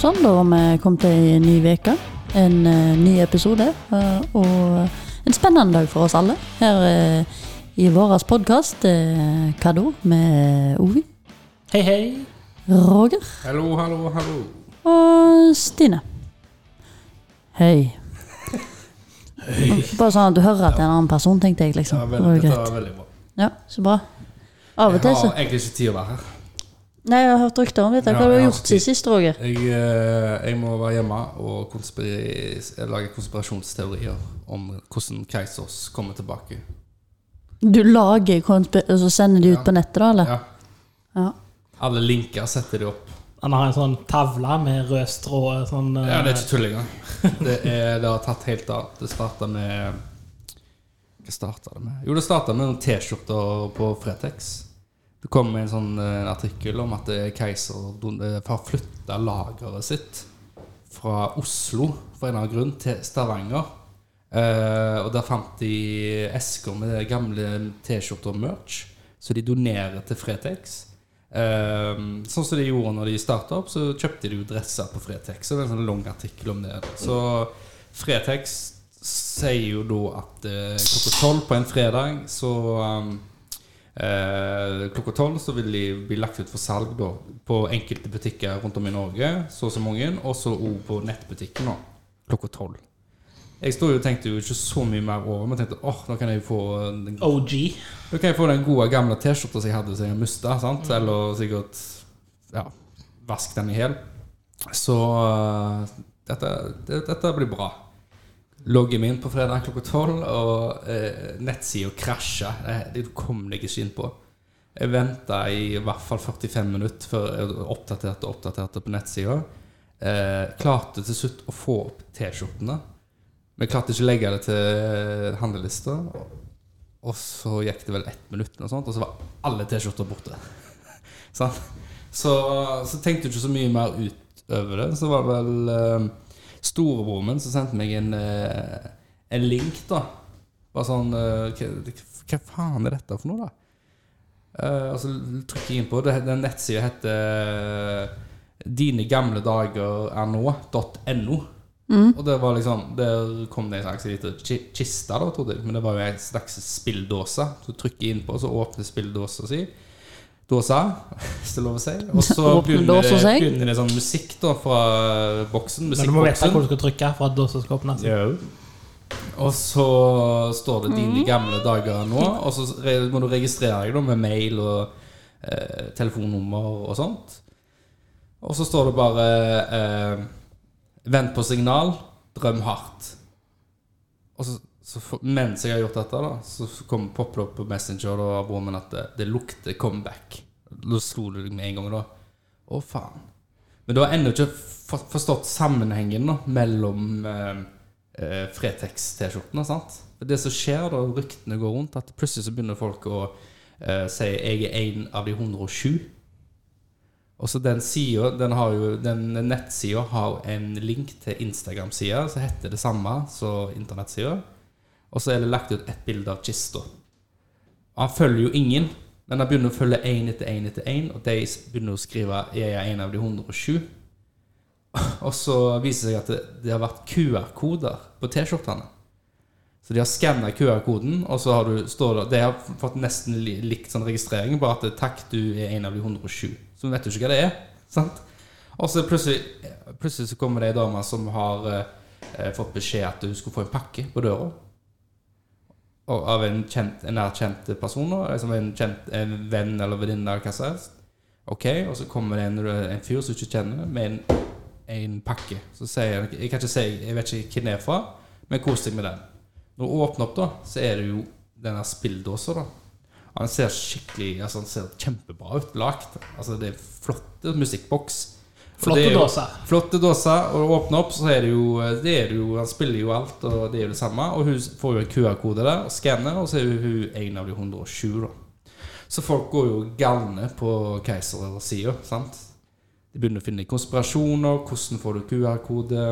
sånn, da har vi kommet til ei ny uke. En eh, ny episode. eh, og en spennende dag for oss alle her eh, i vår podkast uh, Hva da? med eh, Ovi, Hei, hei. Roger Hallo, hallo, hallo. og Stine. Hei. Bare sånn at du hører at det er en annen person, tenkte jeg. liksom. Ja, Det var veldig, jo dette greit. var veldig bra. Ja, så bra. Av Jeg og til så har egentlig ikke tid å være her. Nei, jeg har hørt rykter om dette. Ja, Hva har du jeg har gjort tid. siden sist, Roger? Jeg, eh, jeg må være hjemme og konspiri- lage konspirasjonsteorier om hvordan Keisers kommer tilbake. Du lager konspir... Og så sender de ut Ja. på nettet, da, eller? Ja. Ja. Alle linker setter de opp. Han har en sånn tavle med rød strå. Sånn, eh, Ja, Det er ikke tull engang. Det, er, det har tatt helt av. Det starta med Hva starta det med? Jo, det starta med noen T-skjorter på Fretex. Det kom en sånn eh, artikkel om at eh, Keiser don- eh, har flytta lageret sitt fra Oslo for en eller annen grunn til Stavanger. Eh, og der fant de esker med gamle T-skjorter og merch, så de donerer til Fretex. Eh, sånn som de gjorde når de starta opp, så kjøpte de jo dresser på Fretex. Så det er en sånn lang artikkel om det. Så Fretex sier jo da at eh, klokka tolv på en fredag så um, Eh, klokka tolv så vil de bli lagt ut for salg da, på enkelte butikker rundt om i Norge. Så og så mange. Og så òg på nettbutikken nå, klokka tolv. Jeg stod jo og tenkte jo ikke så mye mer over, men tenkte åh, nå kan jeg få den, OG. nå kan jeg få den gode, gamle T-skjorta som jeg hadde som jeg mista. sant? Eller sikkert ja, vask den i hjel. Så eh, dette, det, dette blir bra. Logger meg inn på fredag klokka tolv, og eh, nettsida krasja. Det, det kom jeg ikke inn på. Jeg venta i hvert fall 45 minutter før jeg oppdaterte og oppdaterte på nettsida. Eh, klarte til slutt å få opp T-skjortene, men klarte ikke å legge det til handlelista. Og så gikk det vel ett minutt, eller noe sånt, og så var alle T-skjorter borte. Sant? så, så tenkte jeg ikke så mye mer utover det. Så var det vel eh, storebroren min som sendte meg en, eh, en link, da. Bare sånn eh, hva, hva faen er dette for noe, da? Eh, og så trykker jeg inn på det. Den nettsida heter eh, dinegamledagererno.no. Mm. Og det var liksom Der kom det en slags liten ki- kiste, da, trodde jeg. Men det var jo en slags spilldåse. Så du trykker inn på, og så åpner spilldåsa si. Dåsa, hvis det er lov å si. Og så Åpner begynner det, dåsa seg. begynner det sånn musikk da fra boksen. Men du må vite Musikkboksen. hvor du skal trykke for at dåsa skal åpnes. altså. Og så står det 'dine gamle dager' nå, og så re- må du registrere deg da med mail og eh, telefonnummer og sånt. Og så står det bare eh, 'vent på signal, drøm hardt'. Og så, så for, mens jeg har gjort dette, da så kom popper det opp på Messenger da, av broren min at det, det lukter comeback. Da slo det deg med en gang, da. Å, faen. Men du har ennå ikke for- forstått sammenhengen da, mellom eh, eh, Fretex-T-skjortene. sant? For Det som skjer da, ryktene går rundt, at plutselig så begynner folk å eh, si 'jeg er en av de 107'. Og så den sida, den, har jo- den nettsida har en link til Instagram-sida som heter det samme som internettsida. Og så er det lagt ut ett bilde av kista. Og Han følger jo ingen, men han begynner å følge én etter én etter én, og de begynner å skrive 'Jeg er en av de 107'. Og så viser det seg at det, det har vært QR-koder på T-skjortene. Så de har skanna QR-koden, og så har du, står det De har fått nesten li, likt sånn registrering, bare at det er 'Takk, du er en av de 107'. Så vet du ikke hva det er. sant? Og så plutselig, plutselig så kommer det ei dame som har eh, eh, fått beskjed at hun skulle få en pakke på døra. Og av en, kjent, en nærkjent person, da, liksom en, kjent, en venn eller venninne eller hva som helst. Ok, og så kommer det en, en fyr som du ikke kjenner, med en, en pakke. Så sier han Jeg kan ikke si, jeg vet ikke hvem det er fra, men kos deg med den. Når du åpner opp, da, så er det jo denne spilldåsa, da. Han ser skikkelig altså han ser kjempebra ut lagt. Altså, det er flotte musikkboks. Og Flotte det er jo- dåser. Flotte dåser. Og åpne opp, så er det, jo, det er det jo Han spiller jo alt, og det er jo det samme. Og hun får jo en QR-kode der, og skanner, og så er jo hun en av de 107, da. Så folk går jo galne på keisersida, sant? De begynner å finne konspirasjoner. Hvordan får du QR-kode?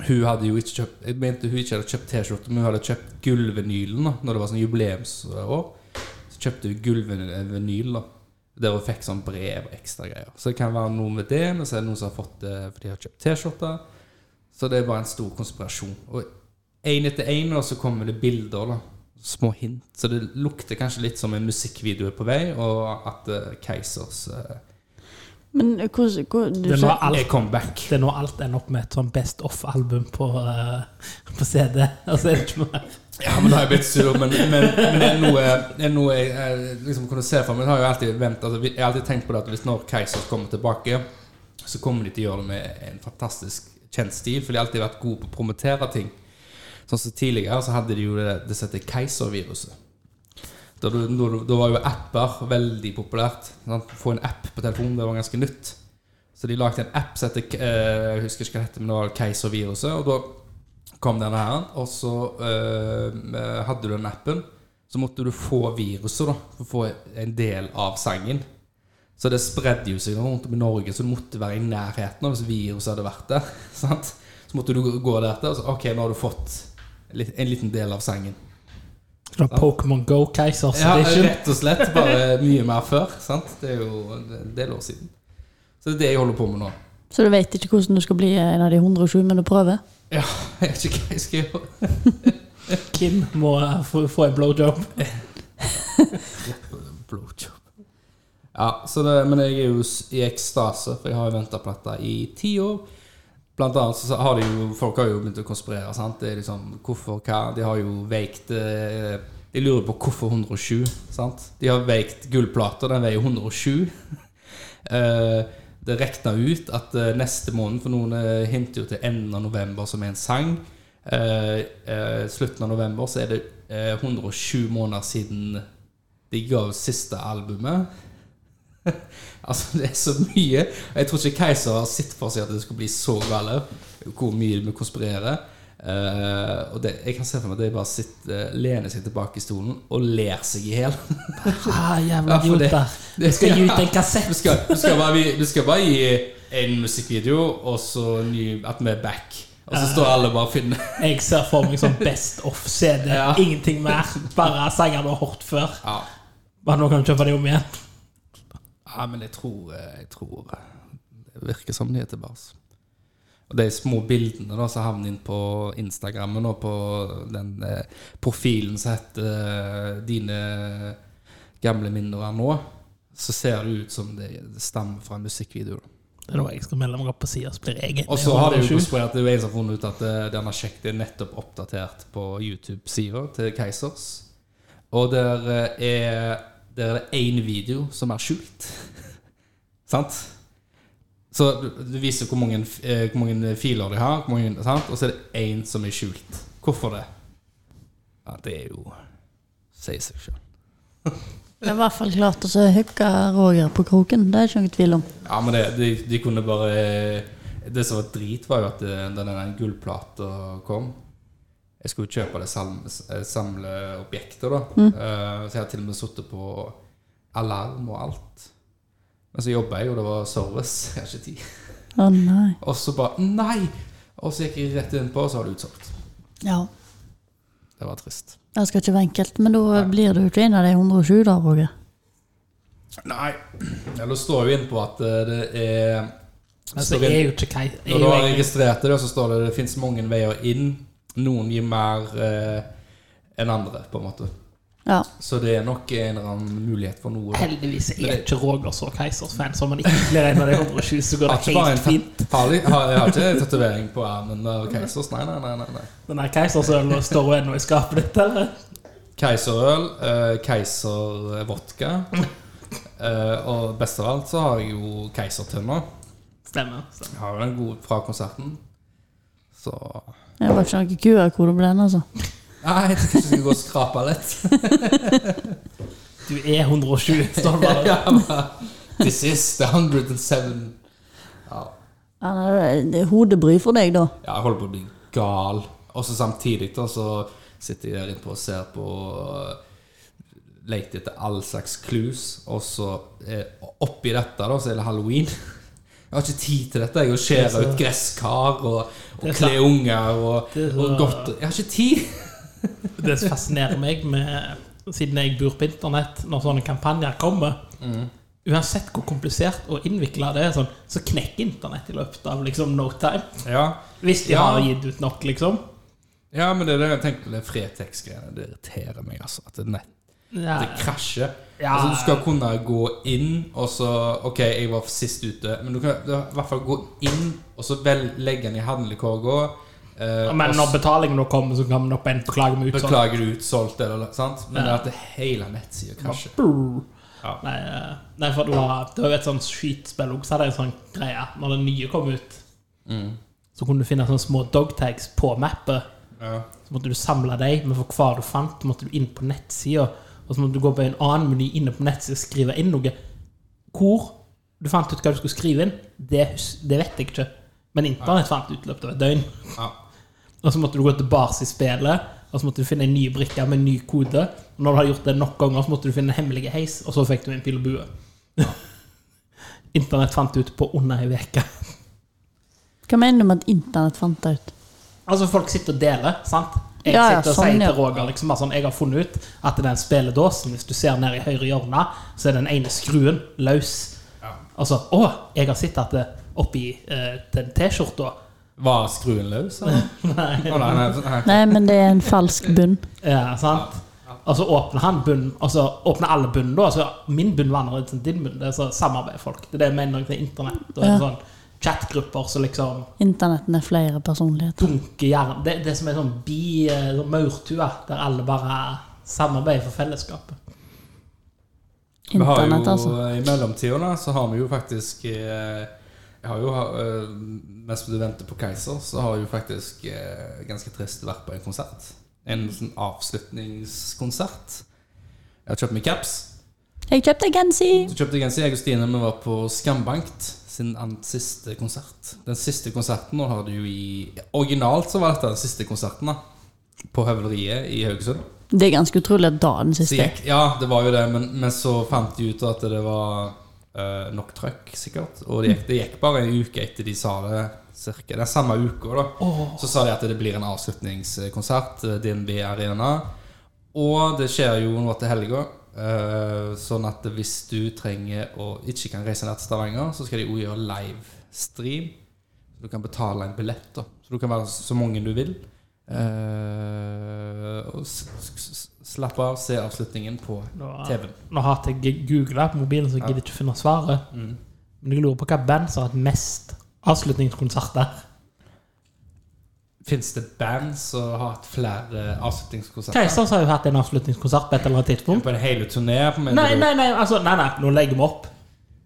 Hun hadde jo ikke kjøpt Jeg mente hun ikke hadde kjøpt T-skjorte, men hun hadde kjøpt gullvinylen da når det var sånn jubileumsår. Så kjøpte hun gullvinyl, da. Der hun fikk sånn brev og ekstra greier. Så det kan være noe med det, men så er det noen som har fått det fordi de har kjøpt T-skjorter. Så det er bare en stor konspirasjon. Og én etter én så kommer det bilder, da. Små hint. Så det lukter kanskje litt som en musikkvideo er på vei, og at eh, Keisers eh, Men eh, hvordan hvor, du Det sa- var alt er comeback. Det er nå alt ender opp med et sånn Best Off-album på, eh, på CD. Altså, er det ikke mer? Ja, men da har jeg blitt sur, men, men, men det er noe, det er noe jeg, jeg liksom kunne se for meg. Jeg har jo alltid ventet, altså, vi- jeg har alltid tenkt på det at hvis når Keisers kommer tilbake, så kommer de til å gjøre det med en fantastisk kjent stil, for de har alltid vært gode på å promotere ting. Sånn som tidligere så hadde de jo det, det som heter Keiserviruset. Da, du- da, du- da var jo apper veldig populært. Sant? Få en app på telefonen, det var ganske nytt. Så de lagde en app som heter eh, Jeg husker ikke hva det heter, men det var Keiserviruset. Og da kom denne her, og så eh, hadde du den appen. Så måtte du få viruset, da, for å få en del av sangen. Så det spredde jo seg rundt om i Norge, så du måtte være i nærheten av hvis viruset hadde vært der. Sant? Så måtte du gå der til, og så OK, nå har du fått litt, en liten del av sangen. Skal du ha Pokémon Go Keisers Ja, Edition? rett og slett. Bare mye mer før. Sant? Det er jo en del år siden. Så det er det jeg holder på med nå. Så du vet ikke hvordan du skal bli eh, en av de 107, men du prøver? Ja, jeg vet ikke hva jeg skal gjøre. Kim må eh, få, få en blowjob. Blowjob. Ja, så det, men jeg er jo s- i ekstase, for jeg har jo venta på dette i ti år. Blant annet så har de jo, folk har jo begynt å konspirere. sant? Det er liksom, hvorfor, hva, De har jo veikt eh, De lurer på hvorfor 107. sant? De har veikt gullplater, den veier 107. Eh, det regna ut at eh, neste måned, for noen eh, hinter jo til enden av november, som er en sang eh, eh, Slutten av november så er det eh, 107 måneder siden de ga ut siste albumet. altså, det er så mye. Jeg tror ikke Keiser har sett for seg at det skulle bli så gale, hvor mye vi konspirerer. Eh, og det, jeg kan se for meg at de bare sitter, lener seg tilbake i stolen og ler seg i hjel. Ah, Ja, jævla for det- idioter. Vi skal gi ut en kassett. Du skal, du skal, bare, vi- du skal bare gi en musikkvideo, og så ny, at vi er back. Og så står alle bare og finner Jeg ser for meg sånn Best Off-CD. Ja. Ingenting mer. Bare sanger du har hørt før. Ja, Bare nå kan du kjøpe det om igjen. ja men jeg tror, eh, jeg tror Det virker som de er tilbake. altså. Og de små bildene da, som havner inn på Instagrammen og på den eh, profilen som heter eh, 'Dine gamle minner er nå', så ser det ut som det stammer fra en musikkvideo. da. Det er da jeg skal melde meg opp på sida, så blir jeg Og så har det jo konspirert det er jo en som har funnet ut at eh, denne sjekket er nettopp oppdatert på YouTube-sida til Keisers. Og der eh, er der er det én video som er skjult. sant? Så du, du viser hvor mange, eh, hvor mange filer de har, hvor mange, sant? og så er det én som er skjult. Hvorfor det? Ja, det er jo Sier seg sjøl. Jeg har i hvert fall klart å hooke Roger på kroken, det er ikke noen tvil om. Ja, men det, de, de kunne bare Det som var drit, var jo at eh, da den gullplata kom Jeg skulle jo kjøpe det eh, samle, samleobjektet, da. Eh, så jeg har til og med sittet på alarm og alt. Men så jobba jeg, og det var service. Jeg har ikke tid. Å nei. Og så bare Nei! Og så gikk jeg rett innpå, og så var det utsolgt. Ja. Det var trist. Det skal ikke være enkelt, men da blir du ikke en av de 107 da, Roger. Nei. Eller det står jo innpå at eh, det er Men så Altså, er jo ikke Kai er Når du jo har egentlig- registrert det, så står det det finnes mange veier inn. Noen gir mer eh, enn andre, på en måte. Ja. Så det er nok en eller annen mulighet for noe. da. Heldigvis er ikke Roger så Keisers-fan, så om han ikke blir en av de 120, så går Har det ikke bare en helt ta- fint. har, de- har, jeg har ikke tatovering på armen av Keisers. Nei, nei, nei. nei, nei. Den der Keisers-ølen står jo ennå i skapet ditt, eller? Keiserøl, eh, keiservodka. Eh, og best av alt så har jeg jo keisertønner. Stemmer. stemmer. Jeg har jo den gode fra konserten. Så Det var ikke noen QR-kode på den, altså. Nei, jeg tror kanskje jeg skal gå og skrape litt. Du er 107, står det bare. ja, men, this is the 107 ja. Ja, nei, det er hodebry for deg, da. Ja, jeg holder på å bli gal. Og så samtidig da, så sitter jeg der inne på og ser på eh, Leter etter all slags clues, og så eh, oppi dette da, så er det halloween. Jeg har ikke tid til dette. Jeg å skjære ut gresskar og, Det er og så- kle unger og, Det er så- og godt Jeg har ikke tid! Det som Mm. fascinerer meg med Siden jeg bor på internett, når sånne kampanjer kommer Uansett hvor komplisert og innvikla det er, sånn, så knekker internett i løpet av liksom, no time. Ja. Hvis de Ja. har gitt ut nok, liksom. ja, men det er det jeg tenkte Det fretex-greiene Det irriterer meg, altså. At det, nett, Ja. det krasjer. Ja. Altså, du skal kunne gå inn, og så OK, jeg var sist ute, men du kan du, i hvert fall gå inn, og så vel, legge den i handlekorga. eh, Men og når så betalingen nå kommer, så kan man opp en klage med utsolgt. Beklager du utsolgt, eller sant? Men det er at det hele nettsida krasjer. Brr. Ja. Nei, eh, nei, for det var, det var jo et sånt skitspill også, så hadde jeg en sånn greie. Når det nye kom ut, Mm. så kunne du finne sånne små dogtags på mappet. Ja. Så måtte du samle dem, men for hver du fant, måtte du inn på nettsida. Og så måtte du gå på en annen meny inne på nettsida og skrive inn noe. Hvor du fant ut hva du skulle skrive inn, det, hus- det vet jeg ikke. Men internett fant ut i løpet av et døgn. Ja. Og så måtte du gå tilbake i spillet, og så måtte du finne en ny brikke med en ny kode. Og når du hadde gjort det nok ganger, så måtte du finne hemmelige heis, og så fikk du en pil og bue. Internett fant ut på under ei uke. Hva mener du med at internett fant det ut? Altså, folk sitter og deler, sant? Jeg Ja, ja, sitter og sånn, sier ja. til Roger liksom, bare sånn, jeg har funnet ut at den spilledåsen, hvis du ser ned i høyre hjørne, så er den ene skruen løs. Ja. Altså, å, jeg har sett at det oppi eh, den T-skjorta Var skruen løs, eller? Å, nei, nei, nei. Nei, men det er en falsk bunn. Ja, sant? Og så åpner han bunnen, og så åpner alle bunnen, da. Så min bunn vandrer ut til din bunn. Det er så samarbeider folk. Det er det jeg mener til internett og Ja. sånn chatgrupper som liksom Internetten er flere personligheter. dunker jern... Det, det som er sånn bi eh, sånn maurtue, der alle bare samarbeider for fellesskapet. Vi har jo, Internett, altså. I mellomtida da, så har vi jo faktisk eh, Jeg har jo eh, Mens du venter på Keiser, så har jeg jo faktisk eh, ganske trist vært på en konsert. En sånn avslutningskonsert. Jeg har kjøpt meg caps. Jeg kjøpte genser! Så kjøpte jeg genser. Jeg og Stine vi var på Skambankt sin an- siste konsert. Den siste konserten nå har du jo i Originalt så var dette den siste konserten, da. På Høveleriet i Haugesund. Det er ganske utrolig at da er den Så siste. gikk, ja, det var jo det, men, men så fant de ut at det var eh, nok trøkk, sikkert. Og det gikk, det gikk bare en uke etter de sa det, cirka. Den samme uka, da. Så sa de at det blir en avslutningskonsert, eh, DNB Arena. Og det skjer jo nå til helga. eh, sånn at hvis du trenger og ikke kan reise ned til Stavanger, så skal de også gjøre livestream. Så du kan betale en billett, da. Så du kan være så mange du vil. Eh, og s- s- s- slappe av, se avslutningen på Nå, TV-en. nå har jeg googla på mobilen, så jeg gidder ikke finne svaret. Men jeg lurer på hva band som har hatt mest avslutningskonserter. Fins det band som har hatt flere avslutningskonserter? Keisers har jo hatt en avslutningskonsert på et eller annet tidspunkt. På en hel turné? på- mener Nei, du? nei, nei, altså, nei, nei, nå legger vi opp.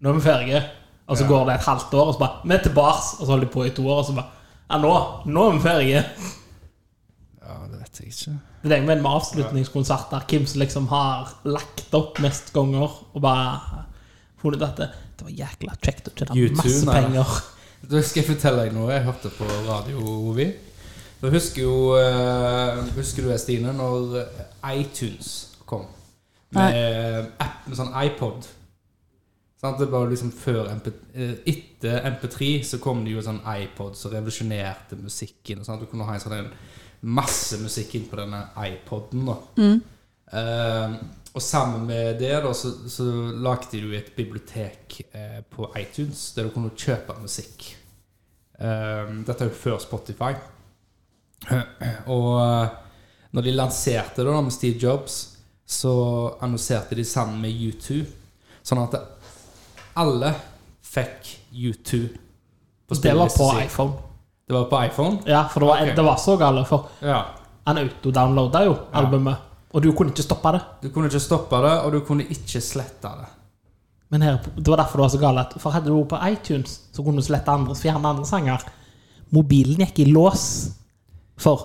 Nå er vi ferdige. Og så Ja. går det et halvt år, og så bare Vi er tilbake, og så holder de på i to år, og så bare Ja, nå, nå er vi ferdige. Ja, det vet jeg ikke. Det er det jeg mener med avslutningskonserter. Hvem som liksom har lagt opp mest ganger, og bare funnet ut at det, det var jækla kjekt å tjene U2, masse nei. penger. Da skal jeg fortelle deg noe jeg hørte på radio, Ovi. Da husker jo eh, Husker du det, Stine, når iTunes kom? Med app med sånn iPod. Sant? Det var liksom før MP, eh, Etter MP3 så kom det jo en sånn iPod som revolusjonerte musikken. Sant? Du kunne ha en sånn en masse musikk inn på denne iPoden. da Eh, og sammen med det da, så, så lagde du et bibliotek eh, på iTunes der du kunne kjøpe musikk. Eh, dette er jo før Spotify. og eh, når de lanserte det da med Steve Jobs, så annonserte de sammen med U2. Sånn at alle fikk U2 på Det var på spillelisten sin. iPhone. Det var på iPhone? Ja, for det var, Ok. det var så galt, for Ja. han autodownloada jo albumet. Og du kunne ikke stoppe det. Du kunne ikke stoppe det, og du kunne ikke slette det. Men her, det var derfor det var så galt. For hadde du vært på iTunes, så kunne du slette andre, fjerne andre sanger. Mobilen gikk i lås. For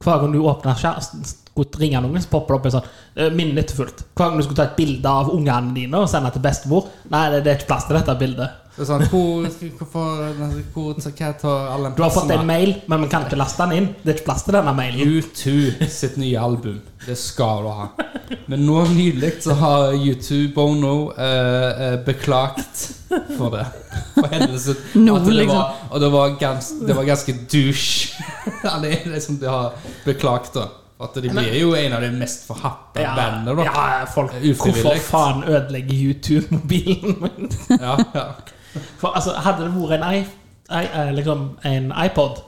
hver gang du åpna skulle ringe noen, så popper det opp en sånn eh, Minnet ditt er fullt. Hver gang du skulle ta et bilde av ungene dine og sende til bestemor Nei, det, det er ikke plass til dette bildet. Det er sånn, hvor, hvorfor, hvor, hva tar alle Du har fått en mail, men vi kan ikke laste den inn. Det er ikke plass til denne mailen. U2 sitt nye album. Det skal du ha. Men nå nylig så har U2 Bono eh, eh, beklagt for det. For hendelsen. Nå, at det liksom. var, og det var, gans, det var ganske douche. Ja, det er liksom de har beklagt, da. For at de blir jo en av de mest forhatte bandene, da. ja, folk, Ufrivillig. hvorfor faen ødelegger YouTube-mobilen min? Ja, ja. For altså, hadde det vært en, i, i, eh, liksom, en iPod,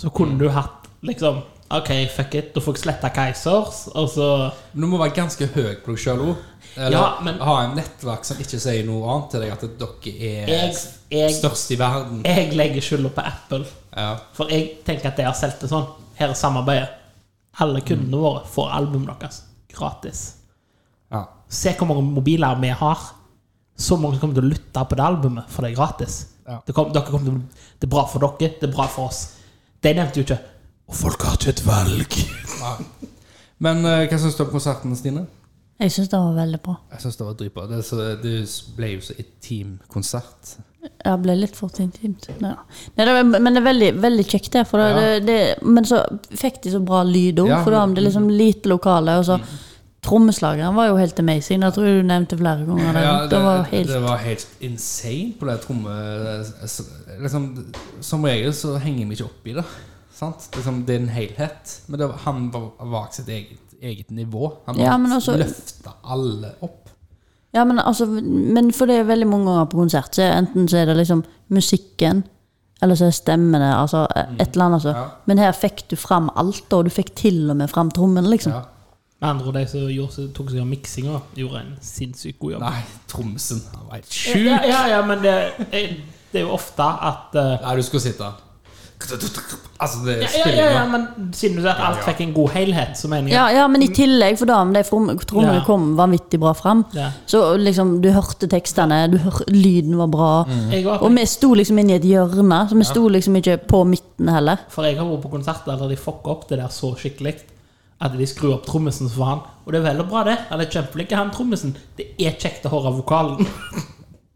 så kunne du hatt liksom OK, fuck it, da får jeg sletta Keisers, og så Men du må være ganske høy på deg sjøl òg. Eller Ja, men- ha en nettverk som ikke sier noe annet til deg, at dere er Jeg, jeg, størst i verden. jeg legger skylda på Apple, Ja. for jeg tenker at de har solgt det sånn. Her er samarbeidet. Alle kundene våre får albumet deres gratis. ja. Se hvor mange mobiler vi har. Så mange kommer til å lytte på det albumet, for det er gratis. Ja. Det, kom, dere kommer til, å- det er bra for dere, det er bra for oss. De nevnte jo ikke Og folk har ikke et valg! Men eh, hva syns du om konserten, Stine? Jeg syns det var veldig bra. Jeg syns det var dritbra. Det, er så- det ble jo så intim-konsert. Ja, ble litt for intimt. Nei, da. Nei, det var, men det er veldig, veldig kjekt, det, for det, Ja. det, det. Men så fikk de så bra lyd òg, Ja. Mm. for da har vi liksom lite lokale. Og så Trommeslageren var jo helt amazing. Det tror jeg du nevnte flere ganger. Det, Ja, det, var jo helt det var helt insane på det tromme... s- Liksom, som regel så henger vi ikke opp i det. Sant? Liksom, det er en helhet. Men det var, han var, var sitt eget, eget nivå. Han Ja, ja, men også- løfta alle opp. Ja, men altså Men for det er veldig mange ganger på konsert, så er enten så er det liksom musikken, eller så er stemmene, altså et eller annet. Altså. Mm. Ja. Men her fikk du fram alt, og du fikk til og med fram trommene, liksom. Ja. Med andre ord, de som gjorde, tok seg av miksinga, gjorde en sinnssykt god jobb. Nei, Tromsen Han var helt sjuk! Ja, ja, ja, men det, det er jo ofte at eh, Nei, du skulle sitte Altså, det er ja, ja, ja, ja, spillinga. men siden du sier at alt fikk en god helhet, så mener jeg Ja, ja, men i tillegg, for da om de from- trommene Ja. kom vanvittig bra fram, Ja. så liksom, du hørte tekstene, du hør, lyden var bra, Jeg var- og vi sto liksom inne i et hjørne, så vi sto liksom ikke på midten heller. For jeg har vært på konserter der de fucker opp det der så skikkelig at de skrur opp trommisen for han. Og det er veldig bra, det. Han er kjempeflink, han trommisen. Det er kjekt å høre vokalen.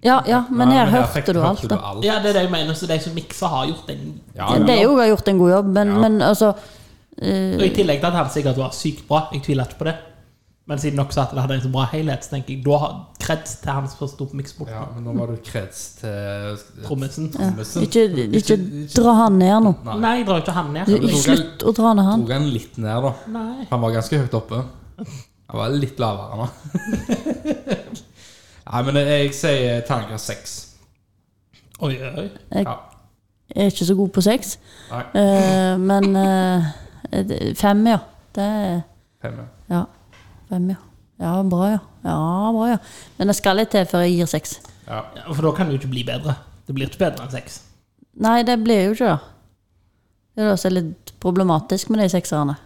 Ja, ja, men Nei, her der fikk- hørte du alt, da. alt. Ja, det er det jeg mener, så de som mikser, har gjort en Ja, De òg har gjort en god jobb, men, Ja. men altså Og i tillegg til at han sikkert var sykt bra, jeg tviler ikke på det. Men siden dere sa at det hadde en så bra helhet, så tenker jeg da har kreds til han som sto på miksebordet. Ja, men nå var du kreds til eh, Trommisen. Trommisen. Ikke, ikke dra han ned nå. Nei. Nei, jeg drar jo ikke han ned. Du, men tok jeg- Slutt å dra ned han. Tok han litt ned, da. Nei. Han var ganske høyt oppe. Han var litt lavere nå. Nei, men jeg sier terningkast seks. Oi, oi, oi. Jeg Ja. er ikke så god på sex, Nei, eh, men eh, det- fem, ja. Det er fem. ja. Ja. Fem, ja. Ja, bra, ja. Ja, bra, ja. Men det skal litt til før jeg gir seks. Ja. Ja, For da kan det jo ikke bli bedre. Det blir ikke bedre enn seks. Nei, det blir jo ikke det. Det er det som er litt problematisk med de sekserne,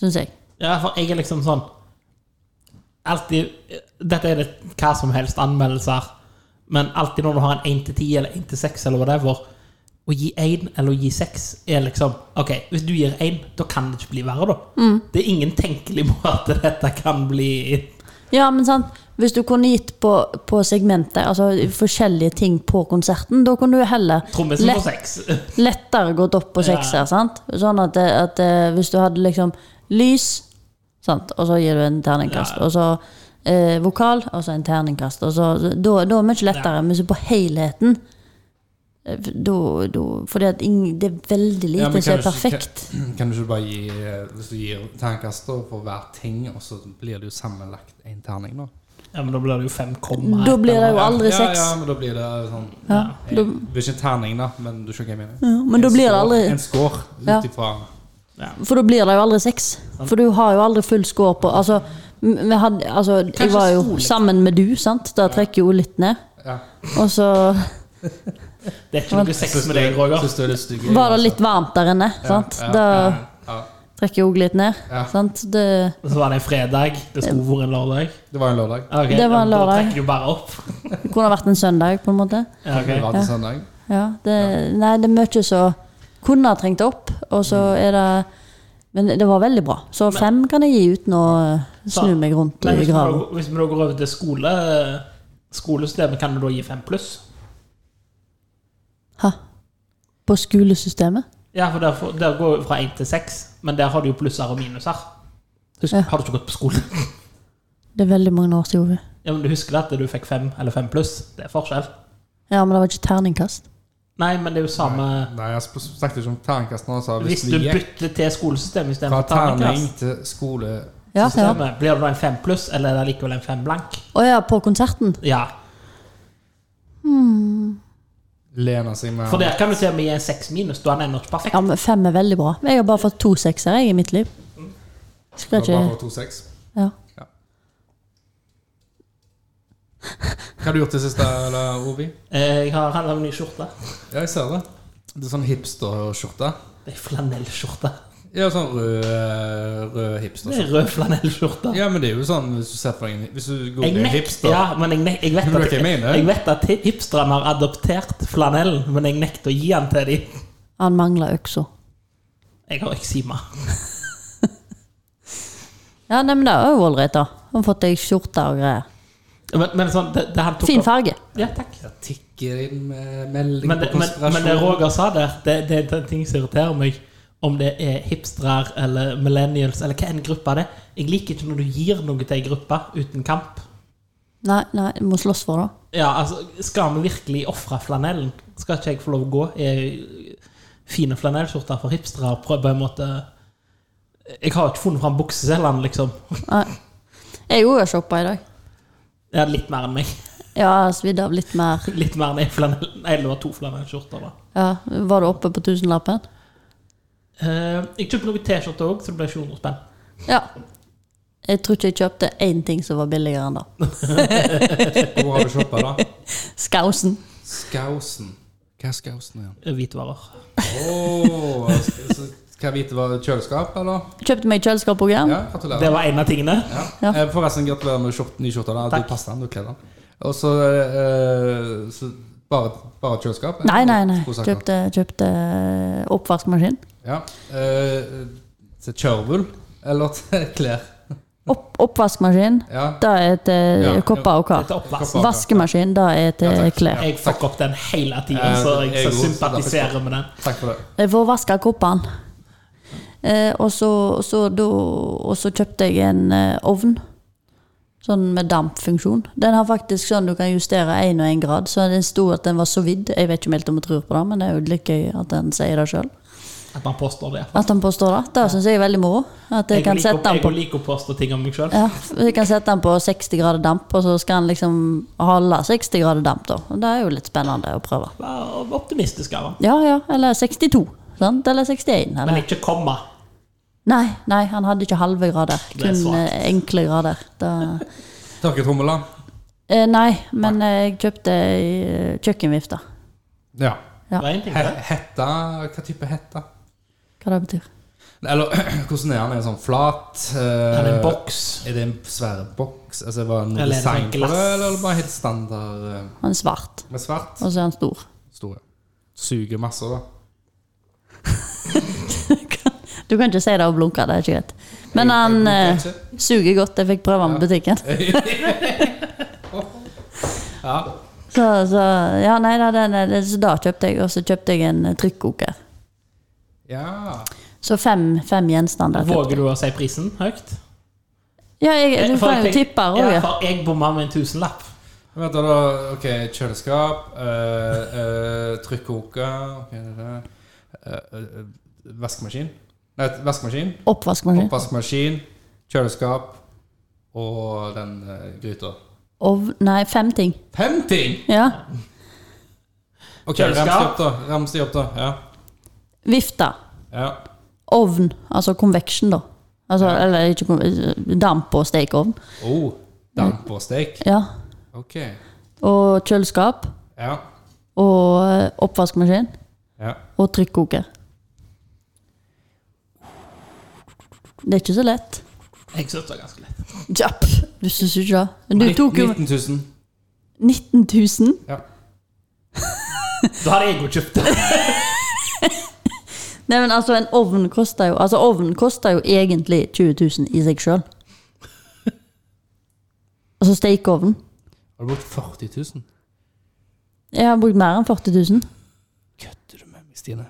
syns jeg. Ja, for jeg er liksom sånn Alltid Dette er det hva som helst anmeldelser, men alltid når du har en 1 til 10 eller 1 til 6 eller whatever, å gi 1 eller å gi 6 er liksom OK, hvis du gir 1, da kan det ikke bli verre, da. Mm. Det er ingen tenkelig måte dette kan bli Ja, men sant, hvis du kunne gitt på, på segmentet, altså forskjellige ting på konserten, da kunne du heller Trommisen lett- på 6. lettere gått opp på Ja. sekser. sant? Sånn at, det- at eh, hvis du hadde liksom lys, sant? og så gir du en terningkast, Ja. og så eh, vokal, og så en terningkast. Og så, da, da er det mye lettere. Men hvis du på helheten eh, da, da, Fordi at ingen, det er veldig lite Ja, men som er kan du ikke- perfekt. Kan du ikke bare gi eh, Hvis du gir terningkast da, for hver ting, og så blir det jo sammenlagt én terning, da? Ja, men da blir det jo 5 komma. Da blir det jo aldri ja, seks. Ja, men da blir det sånn Ja, eh, da, Det blir ikke en terning, da, men du skjønner hva jeg mener. ja, men En da blir det score- aldri En score Ja. ut ifra For da blir det jo aldri seks. For du har jo aldri full score på Altså, m- vi hadde, altså jeg Kanskje var jo skole- sammen med du, sant? Da trekker jo litt ned. ja. Og så Det er ikke noe sex med deg, Roger. Syns du er litt stygg? var det litt varmt der inne. sant? ja, da ja. trekker jeg òg litt ned. Ja. Sant? Det, Så var det en fredag. Det skulle vært en lørdag. Det var en lørdag. Ok, Det var en ja, men Da lørdag. trekker du bare opp. det kunne ha vært en søndag, på en måte. Ja, ok. Det var til Ja. søndag. Ja, det, Nei, det er mye som kunne ha trengt opp, og så Mm. er det Men det var veldig bra. Så fem kan jeg gi uten å eh, snu Så- meg rundt Men i hvis vi, graven. da, hvis vi da går over til skole, skolesystemet, kan du da gi fem pluss? Hæ? På skolesystemet? Ja, for der, får- der går jo fra én til seks, men der har du jo plusser og minuser. Husk, Ja. Har du ikke gått på skole? Det er veldig mange år siden. Ove. Ja, men Du husker at du fikk fem eller fem pluss? Det er forskjell. Ja, men det var ikke terningkast. Nei, men det er jo samme Nei, jeg sp- snakket ikke om terningkasten. Han sa Hvis hvis du vi gikk bytter til skolesystemet fra istedenfor terning terningkast, til skole Ja, ja. systemet, blir det da en fem pluss, eller er det likevel en fem blank? Å ja, på konserten? Ja. Lene seg mer For der kan du til og med gi en seks minus. Da er den ennå ikke perfekt. Ja, men fem er veldig bra. Jeg har bare fått to sekser jeg, i mitt liv. Det Skal var Mm. bare ikke to seks. ja. Hva har du gjort det siste, eller, Ovi? Eh, Jeg har handla om ny skjorte. Ja, jeg ser det. Det er sånn hipsterskjorte. Det er flanellskjorte. Ja, sånn rød, rød hipster. Det er rød flanellskjorte. Ja, men det er jo sånn hvis du ser på en Hvis du går Jeg ned i nek- hipster Ja, men jeg, nek- jeg, Men vet det er at, ikke jeg jeg, mener. vet at hipsterne har adoptert flanellen, men jeg nekter å gi den til dem. Han mangler øksa. Jeg har eksima. Ja, nei, men det er jo ålreit, da. Har fått deg skjorte og greier. Men, men sånn, det, det han tok Fin opp- farge. Ja, takk. Jeg tikker inn med eh, melding Men, det- på men, konspirasjon. men det Roger sa der, det, det er den ting som irriterer meg. Om det er hipstrer eller millennials eller hva enn gruppa det er. Jeg liker ikke når du gir noe til ei gruppe uten kamp. Nei, nei, du må slåss for det. Ja, altså, Skal vi virkelig ofre flanellen? Skal ikke jeg få lov å gå i fine flanellskjorter for hipstere og prøve på en måte Jeg har jo ikke funnet fram bukseselgeren, liksom. Nei. Jeg òg har shoppa i dag. Ja, litt mer enn meg. Ja, svidd av litt mer. Litt mer enn en flanell. Nei, det var to flanellskjorter, da. Ja, Var du oppe på tusenlappen? Eh, jeg kjøpte noen T-skjorter òg, så det ble 700 spenn. Ja. Jeg tror ikke jeg kjøpte én ting som var billigere enn det. Hvor har du shoppa, da? Skausen. Skausen. Hva er skausen igjen? Eh, Hvitvarer. Åh, så skal jeg vite hva kjøleskap, eller? Kjøpte meg kjøleskap òg, ja. Ja, Det gratulerer. var en av tingene. Ja. Ja. Eh, Forresten, gratulerer med skjort, ny skjorte. da. Takk. Du passer den, du kler den. Og så, eh, så bare, bare kjøleskap? eller? Nei, nei, nei. To saker. Kjøpte, kjøpte eh, oppvaskmaskin. Ja. Eh, til kjørvel eller til klær? Opp, oppvaskmaskin, Ja. det er til Ja. kopper og Dette kar. er oppvask. Kopper. Vaskemaskin, det er til Ja, takk. klær. Jeg fucker opp den hele tiden, Eh, så jeg jeg så også, sympatiserer med den. Takk for det. Jeg får Eh, vaske koppene. Eh, og, så, og, så, da, og så kjøpte jeg en eh, ovn. Sånn med dampfunksjon. Den har faktisk sånn du kan justere én og én grad. Så den sto at den var så vidd. Jeg vet ikke om helt om jeg tror på det, men det er jo litt gøy at den sier det sjøl. At man påstår det. At han påstår det. Det syns jeg er veldig moro. At jeg, kan liker, sette den jeg på liker å påstå ting om meg sjøl. ja, jeg kan sette den på 60 grader damp, og så skal han liksom holde 60 grader damp, da. Og det er jo litt spennende å prøve. Vær optimistisk av han. Ja, ja. Eller 62. Sant? Eller 61. Men Eller. ikke komma. Nei, nei, han hadde ikke halve grader. Det er Kun svakt. eh, enkle grader. Da, Tørketrommel, da? eh, nei, men eh, jeg kjøpte eh, kjøkkenvifte. Ja. Ja. Det var en ting, He det. hetta Hva type hetta? Hva det betyr. Eller hvordan er den? Er den sånn flat? eh, Eller en boks. Er det en svær boks? Altså, var det noe Eller er det design sånn på det, glass? eller er det bare helt standard eh, Han er svart, med svart? og så er han stor. Store. Suger masse, da. Du kan ikke si det og blunke, det er ikke greit. Men han Jeg- eh, jeg- suger godt. Jeg fikk prøve han på butikken. Ja. Så, så ja, nei da, den, er- så da kjøpte jeg, og så kjøpte jeg en eh, trykkoker. ja. Så fem, fem gjenstander. kjøpte jeg. Våger du å si prisen høyt? Eh, Ja, jeg, du For kan jo jeg tenk- tippe her òg. Ja, Ja. for jeg bomma med en tusenlapp. Men Vent da, da. Ok, kjøleskap, eh, eh, trykkoker ok, det der. Eh, eh, Vaskemaskin. Nei, vaskemaskin. Oppvaskmaskin. Oppvaskmaskin, kjøleskap og den eh, gryta. Ovn Nei, fem ting. Fem ting! Ja. Ok, Kjøleskap. rams de opp, da. Rams de opp, da. Ja. Vifte. ja. Ovn. Altså convection, da. Altså, Eller ikke conve- damp- og stekeovn. Oh, damp og steik. Ja. Ok. Og kjøleskap. Ja. Og eh, oppvaskmaskin. ja. Og trykkoker. Det er ikke så lett. Jeg synes det var ganske lett. Japp. Du syns ikke det? Men Du Nitt- tok jo 19 000. 19 000. Ja. Da hadde jeg jo kjøpt det. Nei, men altså, en ovn koster jo Altså, ovnen koster jo egentlig 20 000 i seg sjøl. Altså stekeovnen. Har du brukt 40 000? Jeg har brukt mer enn 40 000. Kødder du med meg, Stine?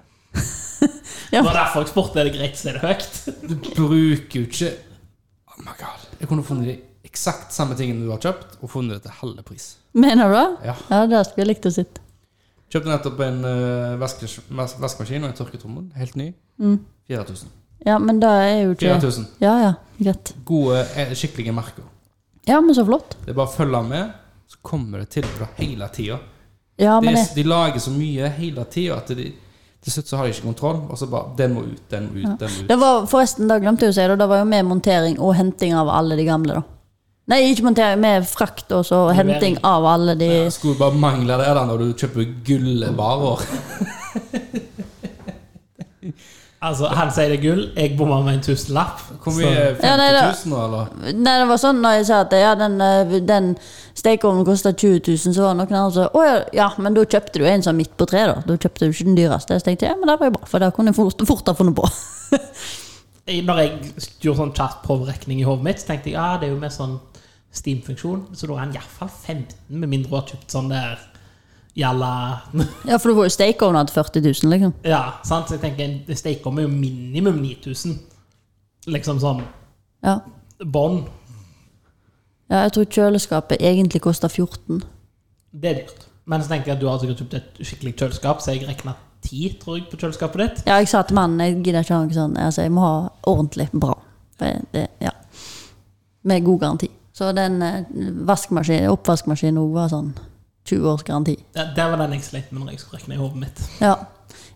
Det var derfor jeg spurte er det greit å si det høyt. Du bruker jo ikke Oh my god. Jeg kunne funnet de eksakt samme tingene du har kjøpt, og funnet det til halve pris. Mener du det? Ja. Ja, det skulle jeg likt å sitte. Kjøpte nettopp en eh, vaskes, vas- vaskemaskin og en tørketrommel. Helt ny. Mm. 4000. Ja, men det er jo ikke 4000. Ja, ja, greit. Gode, eh, skikkelige merker. Ja, men så flott. Det er bare å følge med, så kommer det tilbud hele tida. Ja, De, men det, de lager så mye hele tida at de, til slutt så har de ikke kontroll. Og så bare Den må ut, den må ut, den må ut. det var forresten, da glemte jeg å si det, det var jo med montering og henting av alle de gamle, da. Nei, ikke montering, med frakt og så henting av alle de Det skulle bare mangle det da når du kjøper gullvarer. Altså, han sier det er gull, jeg bommer med en tusenlapp. Hvor mye? Så- 50 Ja, nei, det- 000 nå, eller? Nei, det var sånn når jeg sa at ja, den, eh, den stekeovnen kosta 20 000, så var det noen andre som sa å ja, ja, men da kjøpte du en som midt på treet, da. Da kjøpte du ikke den dyreste. Så tenkte jeg ja, men det var jo bra, for det kunne jeg fort, fort ha funnet på. Jeg- Når jeg gjorde sånn kjapp pårekning i hodet mitt, så tenkte jeg ja, det er jo med sånn Steam-funksjon, så da er han iallfall 15, med mindre du har kjøpt sånn der jalla Ja, for du får jo stekeovner til 40 000, liksom. Ja, sant? Så jeg tenker en stekeovn er jo minimum 9000. Liksom sånn Ja. bånd. ja, jeg tror kjøleskapet egentlig kosta 14 Det er dyrt. Men så tenker jeg at du har sikkert kjøpt et skikkelig kjøleskap, så jeg regna 10 tror jeg, på kjøleskapet ditt. Ja, jeg sa til mannen jeg gidder ikke ha noe sånt. Altså, jeg må ha ordentlig bra. For det, ja. Med god garanti. Så den eh, vaskemaskinen, oppvaskmaskinen òg var sånn 20 års garanti. Ja, det var den jeg slet med når jeg skulle regne i hodet mitt. Ja.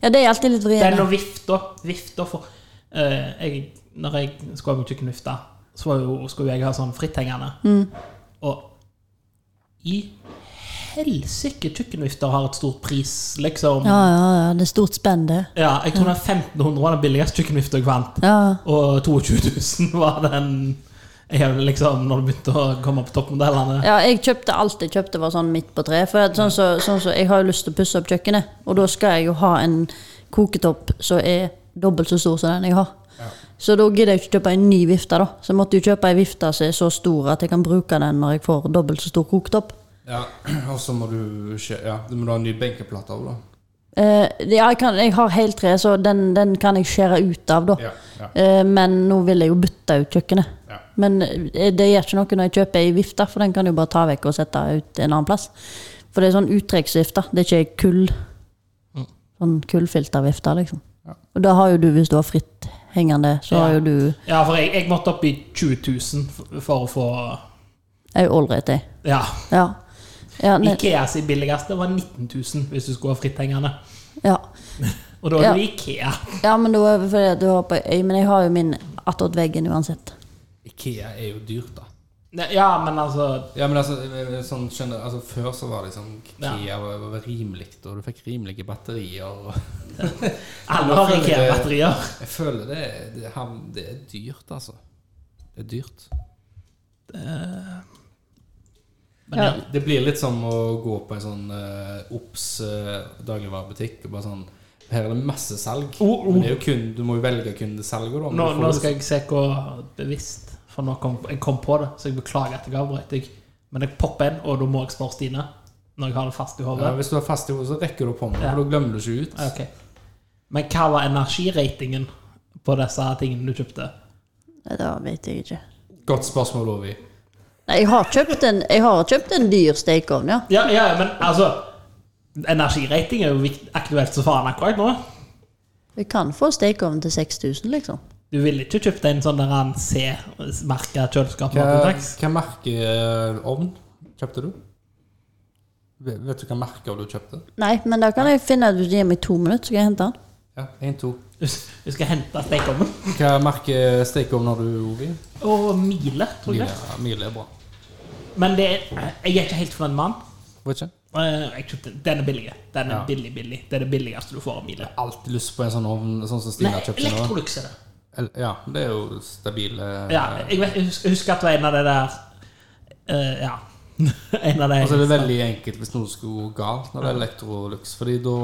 ja, det er alltid litt Den vrient. og vifta. Vifta for eh, jeg, Når jeg skulle ha med kjøkkenvifte, så var jo, skulle jeg ha sånn fritthengende. Mm. Og i helsike kjøkkenvifter har et stort pris, liksom. Ja, ja, ja, det er stort spenn, det. Ja, jeg tror den 1500 var den billigste kjøkkenvifta jeg fant. Ja, Og 22 000 var den jeg, liksom, når du begynte å komme på toppmodellene. ja, jeg kjøpte alt jeg kjøpte, var sånn midt på treet. For at sånn så, sånn så, jeg har jo lyst til å pusse opp kjøkkenet, og da skal jeg jo ha en koketopp som er dobbelt så stor som den jeg har. Så da gidder jeg ikke kjøpe en ny vifte, da. Så jeg måtte jo kjøpe ei vifte som er så stor at jeg kan bruke den når jeg får dobbelt så stor koketopp. Ja, og så må du kjø- Ja, du må ha en ny benkeplate òg, da. Eh, ja, jeg, kan, jeg har heltre, så den, den kan jeg skjære ut av, da. Ja, ja, Eh, men nå vil jeg jo bytte ut kjøkkenet. ja. Men eh, det gjør ikke noe når jeg kjøper ei vifte, for den kan du bare ta vekk og sette ut en annen plass. For det er sånn uttrekksvifte, det er ikke kull. Sånn kullfiltervifte, liksom. Ja. Og da har jo du, hvis du har fritt hengende, så har Ja. jo du Ja, for jeg, jeg måtte opp i 20 000 for, for å få ei ålreit ei. Ja. Ja. Ja, nei, Ikea sin billigste var 19 000 hvis du skulle ha fritthengende. ja. Og da er Ja. du Ikea. ja, men da er det fordi at du har på ei, men jeg har jo min attåt veggen uansett. Ikea er jo dyrt, da. Ne- Ja, men altså Ja, men altså, eh, sånn skjønner, altså Før så var det sånn Ja. Ikea var, var rimelig, og du fikk rimelige batterier. Og Alle har Ikea-batterier. jeg føler det, det, ham- det er dyrt, altså. Det er dyrt. Men ja. Det blir litt som å gå på en sånn eh, Ops eh, dagligvarebutikk og bare sånn Her er det masse salg. Oh, oh. Men det er jo kun, du må jo velge kun det salget, da. men Nå, du får nå det- skal jeg se hvor bevisst For nå kom jeg kom på det, så jeg beklager at jeg avbrøt deg. Men jeg popper en, og da må jeg spørre Stine. Når jeg har det fast i hodet. ja, Hvis du har fast i hodet, så rekker du opp hånda, Ja. for da glemmer du ikke ut. Ok. Men hva var energiratingen på disse tingene du kjøpte? Nei, Det vet jeg ikke. Godt spørsmål, Ovi. Nei, jeg har kjøpt en, jeg har kjøpt en dyr stekeovn, ja. Ja, ja, men altså Energirating er jo vikt- aktuelt som faen akkurat nå. Vi kan få stekeovn til 6000, liksom. Du ville ikke kjøpt en sånn der han C-merka kjøleskap? Hva, Martin Tex? hva merke eh, ovn kjøpte du? Vet vet du hva merke du kjøpte? Nei, men da kan jeg finne ut hvis du gir meg to minutter, så skal jeg hente den. Ja, en, to. Du skal hente stekeovnen? Hva merke stekeovn har du, Ovi? Og mile, tror jeg. Mile, det. Mile er bra. Men det er, jeg er ikke helt fornøyd med den. Vet ikke? Eh, Jeg kjøpte den. Den er billig. Den er Ja. billig, billig. Det er det billigste du får av mile. Alltid lyst på en sånn ovn, sånn som Nei, Stina kjøpte nå. Electrolux er det. Eller- Ja, det er jo stabile Ja, jeg, vet, jeg husker- jeg husker at det var en av de der eh, Ja. En av de Og så er det veldig enkelt hvis noe skulle gå galt når det er Electrolux. Fordi da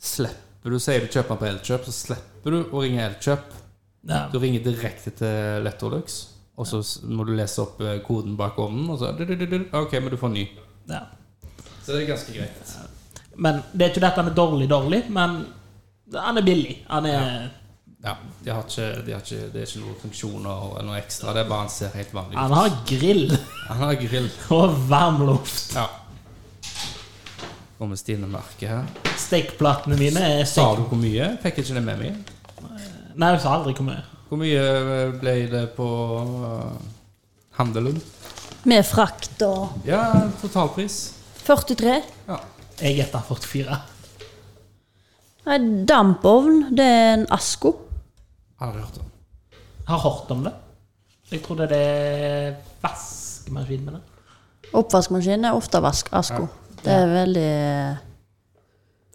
slipper du Sier du kjøper den på Elkjøp, så slipper du å ringe Elkjøp. ja. Du ringer direkte til Electrolux, og så s- må du lese opp eh, koden bak ovnen, og så du, du, du, du, Ah, OK, men du får ny. Ja. Så det er ganske greit. Men det er ikke det at han er dårlig, dårlig, men han er billig. Han er Ja, de har ikke, de har ikke, Det er ikke noen funksjoner eller noe ekstra. Det er bare han ser helt vanlig ut. Han har grill Han har grill. og varmluft. Ja. Og med stille merke her. Stekeplatene mine er Sa steik... du hvor mye? Fikk ikke det med meg. Nei, jeg sa aldri hvor mye. Hvor mye eh, ble det på eh, handelen? Med frakt og Ja, totalpris. 43. Ja. Jeg gjetter 44. Nei, dampovn, det er en Asko. Aldri hørt om. Har hørt om det. Jeg tror det er vaskemaskin med det. Oppvaskmaskin er ofte vask, Asko. Det er veldig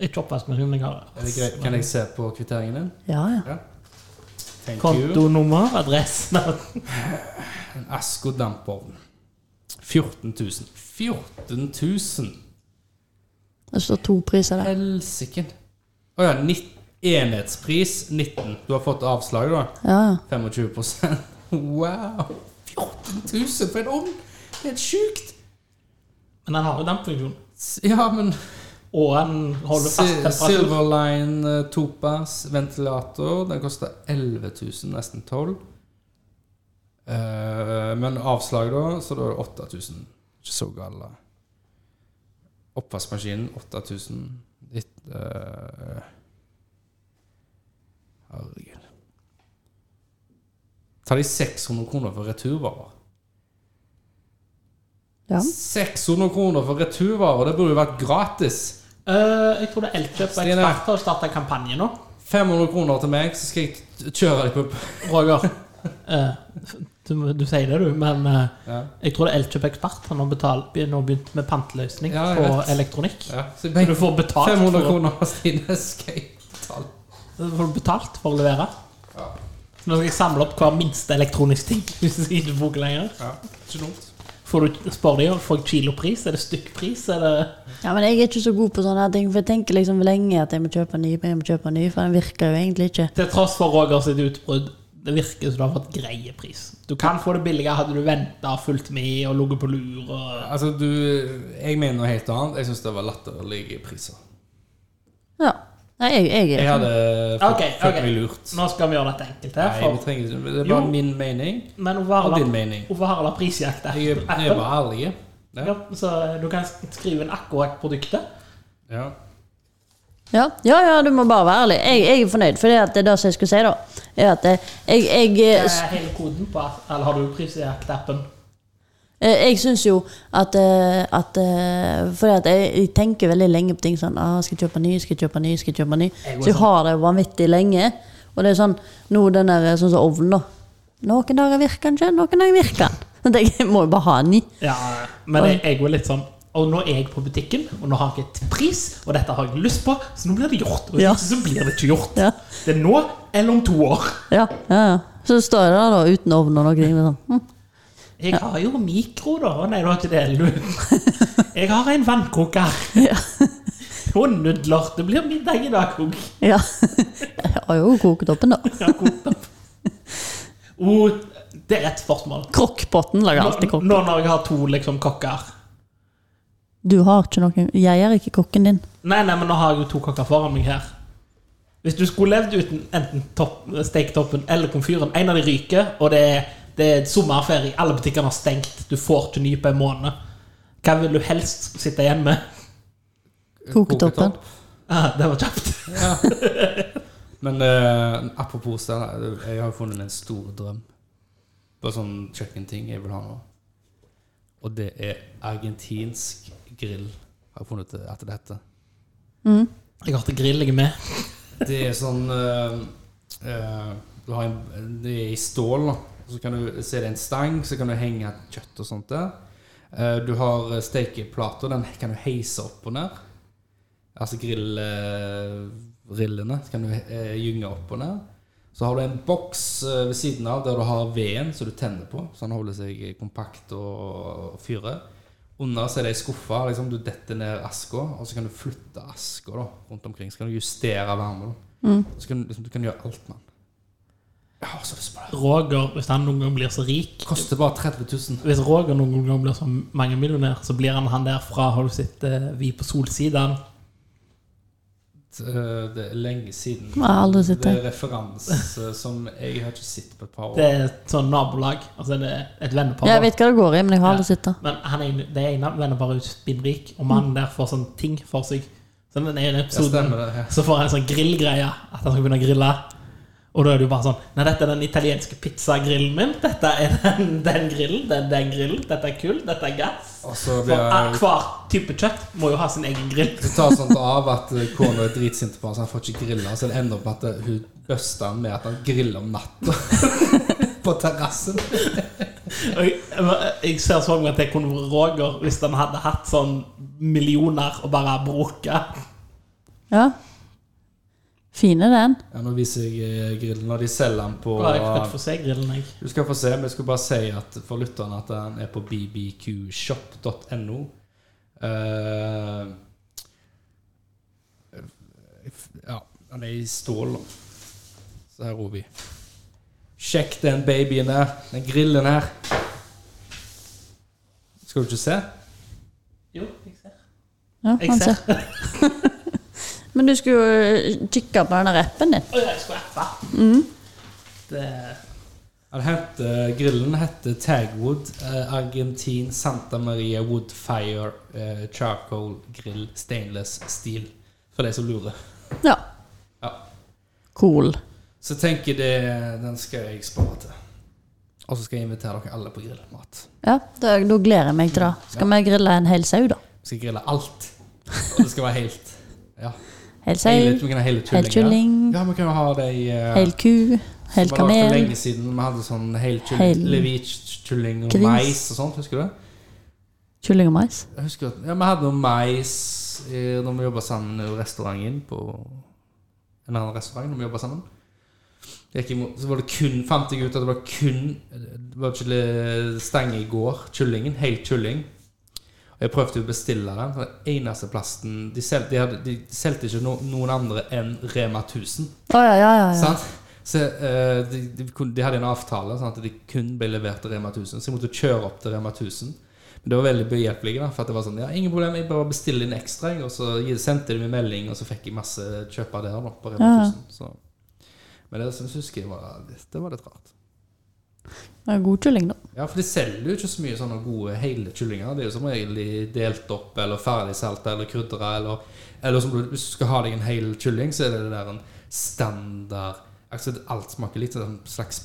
Ikke oppvaskmaskin, men jeg har Er det greit? Kan jeg se på kvitteringen din? Ja, ja. Ja. Thank you. Kontonummer, adresse En Asko dampovn. 14 000. 14 000! Det står to priser der. Helsike. Å ja. nitt- enhetspris 19. Du har fått avslag, da? Ja, ja. 25 Wow! 14 000 for en ovn! Det er helt sjukt! Men den har jo dampfunksjon. S- Ja, men Og den holder fast Si- temperatur. Silverline eh, Topaz ventilator. Den koster 11 000, nesten 12 Eh, Men avslag, da, så da er det 8000. Ikke så galt, da. Oppvaskmaskinen 8000. Litt eh, Herregud. Tar de 600 kroner for returvarer? Ja. 600 kroner for returvarer! Det burde jo vært gratis! Eh, jeg tror det er Elkjøp og Stine. Ekspert har starta kampanje nå. 500 kroner til meg, så skal jeg t- kjøre deg på Roger. Eh, du, du sier det, du, men eh, ja. jeg tror det er Elkjøp Ekspert. Han har betalt, nå begynt med panteløsning Ja, jeg på vet. elektronikk. Ja. Så Så du får betalt 500 for, kroner, Stine, skal jeg betale. så får du betalt for å levere. Ja. Så nå skal jeg samle opp hver minste elektronisk ting. Hvis jeg ikke bruker lenger Ja, ikke dumt. Får du spør de, Får jeg kilopris? Er det stykkpris? Er det Ja, men jeg er ikke så god på sånne her ting, for jeg tenker liksom lenge at jeg må kjøpe en ny, men jeg må kjøpe en ny, for den virker jo egentlig ikke. Til tross for Roger sitt utbrudd, det virker som du har fått greie pris. Du kan få det billigere hadde du venta og fulgt med og ligget på lur. Og Altså, du, jeg mener noe helt annet. Jeg syns det var latterlige priser. Ja. Nei, jeg, jeg Jeg er hadde følt, Ok, følt ok. meg lurt. nå skal vi gjøre dette enkelt Nei, her. vi For, trenger ikke Det er Jo. bare min mening. men Og Ovarla din mening. Ovarla prisjakt er Jeg er, jeg er Apple. bare ærlig. Ja, så du kan skrive inn akkurat produktet. Ja. Ja, ja, ja du må bare være ærlig. Jeg, jeg er fornøyd, for det at det er det som jeg skulle si, da. Er at eh, jeg, jeg, Det eh, er hele koden på Eller har du prisjakt-appen? Eh, Jeg syns jo at, eh, at eh, Fordi at jeg, jeg tenker veldig lenge på ting sånn ah, 'Skal jeg kjøpe ny, skal jeg kjøpe ny, skal jeg kjøpe ny?' Jeg går Så jeg sånn. har det vanvittig lenge. Og det er sånn nå den der, sånn som ovnen, da. Noen dager virker den ikke, noen dager virker den. Men jeg må jo bare ha en ny. Ja, men jeg, jeg var litt sånn og nå er jeg på butikken, og nå har jeg et pris, og dette har jeg lyst på, så nå blir det gjort. Og hvis Ja. ikke, så blir det ikke gjort. Ja. Det er nå eller om to år. Ja, ja, ja. Så står jeg der da, uten ovn og noe. Liksom. Hm. Jeg har jo mikro, da. Å, Nei, du har ikke det. du. Jeg har en vannkoker. Ja. Og nudler. Det blir middag i dag òg. Ja. Jeg har jo kokt opp en, da. det er et spørsmål. Krokkpotten lager alltid Nå, kokk. nå når jeg har to liksom kokker Du har ikke noen Jeg er ikke kokken din. Nei, nei, men nå har jeg jo to kokker foran meg her. Hvis du skulle levd uten enten topp, steketoppen eller komfyren En av de ryker, og det er, det er sommerferie, alle butikkene har stengt, du får ikke ny på en måned. Hva vil du helst sitte igjen med? Koketoppen. Ah, det var kjapt. Men eh, apropos det, da, jeg har jo funnet en stor drøm. Bare sånn kjøkkenting jeg vil ha nå. Og det er argentinsk grill. Har jeg funnet ut at det heter. Jeg har til grill, jeg er med. Det er sånn eh, eh, Du har en Det er i stål, da. Så kan du se det er en stang, så kan du henge kjøtt og sånt der. Eh, du har stekeplater, den kan du heise opp og ned. Altså grillrillene kan du eh, gynge opp og ned. Så har du en boks eh, ved siden av der du har veden som du tenner på, så den holder seg eh, kompakt og, og fyrer. Under så er det ei skuffe. Liksom, du detter ned aska, og så kan du flytte aska da, rundt omkring. Så kan du justere varmen. da. Mm. Så kan, du- liksom, du kan gjøre alt med den. Jeg har så lyst på det. Roger, hvis han noen gang blir så rik Koster bare 30 000. Hvis Roger noen gang blir så mangemillionær, så blir han han der fra Har du sett eh, Vi på solsiden? eh, det er lenge siden. Jeg har aldri sett det det. er referanse som jeg har ikke sett på et par Det år. er et sånn nabolag. Altså det er et vennepar. Jeg vet hva det går i, men jeg har aldri Ja. sett det. Men han er, det ene venneparet er spinnrik, og mannen der får sånn ting for seg. Så den ene Mm. Ja, episoden stemmer det. Ja. så får han en sånn grillgreie. At han skal begynne å grille. Og da er det jo bare sånn Nei, dette er den italienske pizzagrillen min. Dette er den, den grillen. Den, den grillen. Dette er kull. Dette er gass. Og så For blir eh, jeg hver type kjøtt må jo ha sin egen grill. Det tar sånt av at kona er dritsint på ham, så han får ikke grilla. Så det ender opp med at hun buster han med at han griller om natta på terrassen. Og jeg, jeg ser så for meg at det kunne vært Roger hvis han hadde hatt sånn millioner og bare bråka. Ja. Fin er den. Ja, nå viser jeg eh, grillen, og de selger den på Da er jeg redd for å se grillen, jeg. Du skal få se, men jeg skulle bare si at for lytterne at den er på bbqshop.no. Eh, ja, den er i stål. da. Så her, Ovi. Sjekk den babyen her. Den grillen her. Skal du ikke se? Jo, jeg ser. Ja, Jeg han ser. ser. Men du skulle jo eh, kikke på denne rappen din. Å, jeg skulle appe. Det, Han heter, grillen heter Tagwood eh, Argentin Santa Maria Woodfire eh, Charcoal Grill Stainless Steel. For de som lurer. Ja. Ja. Cool. Så tenker jeg det, den skal jeg spare til. Og så skal jeg invitere dere alle på grillmat. Ja, da, da gleder jeg meg til det. Skal vi grille en hel sau, da? Vi skal grille alt. Og det skal være helt. Ja. Hel sau, Hele, vi kan ha hele hel kylling. kylling, Ja, Ja, vi kan jo ha det i eh, hel ku, hel som var lagd For kamel. lenge siden vi hadde sånn Hel- helkylling, levitkylling og Gris. mais og sånt. Husker du det? Kylling og mais. Jeg husker at ja, vi hadde noe mais eh, når vi jobba sammen i restauranten på en annen restaurant. når vi jobbet sammen. Gikk imot, så var det kun, fant jeg ut at det var kun Det var ikke le- stenge i går. Kyllingen. Hel kylling. Og jeg prøvde å bestille den. for Den eneste plassen De solgte de hadde- de solgte ikke no, noen andre enn Rema 1000. Å ja, ja, ja. ja. Sant? Så eh, de, de, kunne- de hadde en avtale sånn at de kun ble levert til Rema 1000. Så jeg måtte kjøre opp til Rema 1000. Men det var veldig behjelpelig. da, For at det var sånn Ja, ingen problem, jeg bare bestiller inn ekstra. jeg, Og så gi- sendte de meg melding, og så fikk jeg masse kjøpere der da, på Rema Ja. 1000. Så. Men det syns jeg husker jeg var, det var litt rart. Det er God kylling, da. Ja, for de selger jo ikke så mye sånne gode hele kyllinger. Det er jo som regel de delt opp eller ferdigsalta eller krydra eller Eller som du, hvis du skal ha deg en hel kylling, så er det det der en standard altså Alt smaker litt sånn slags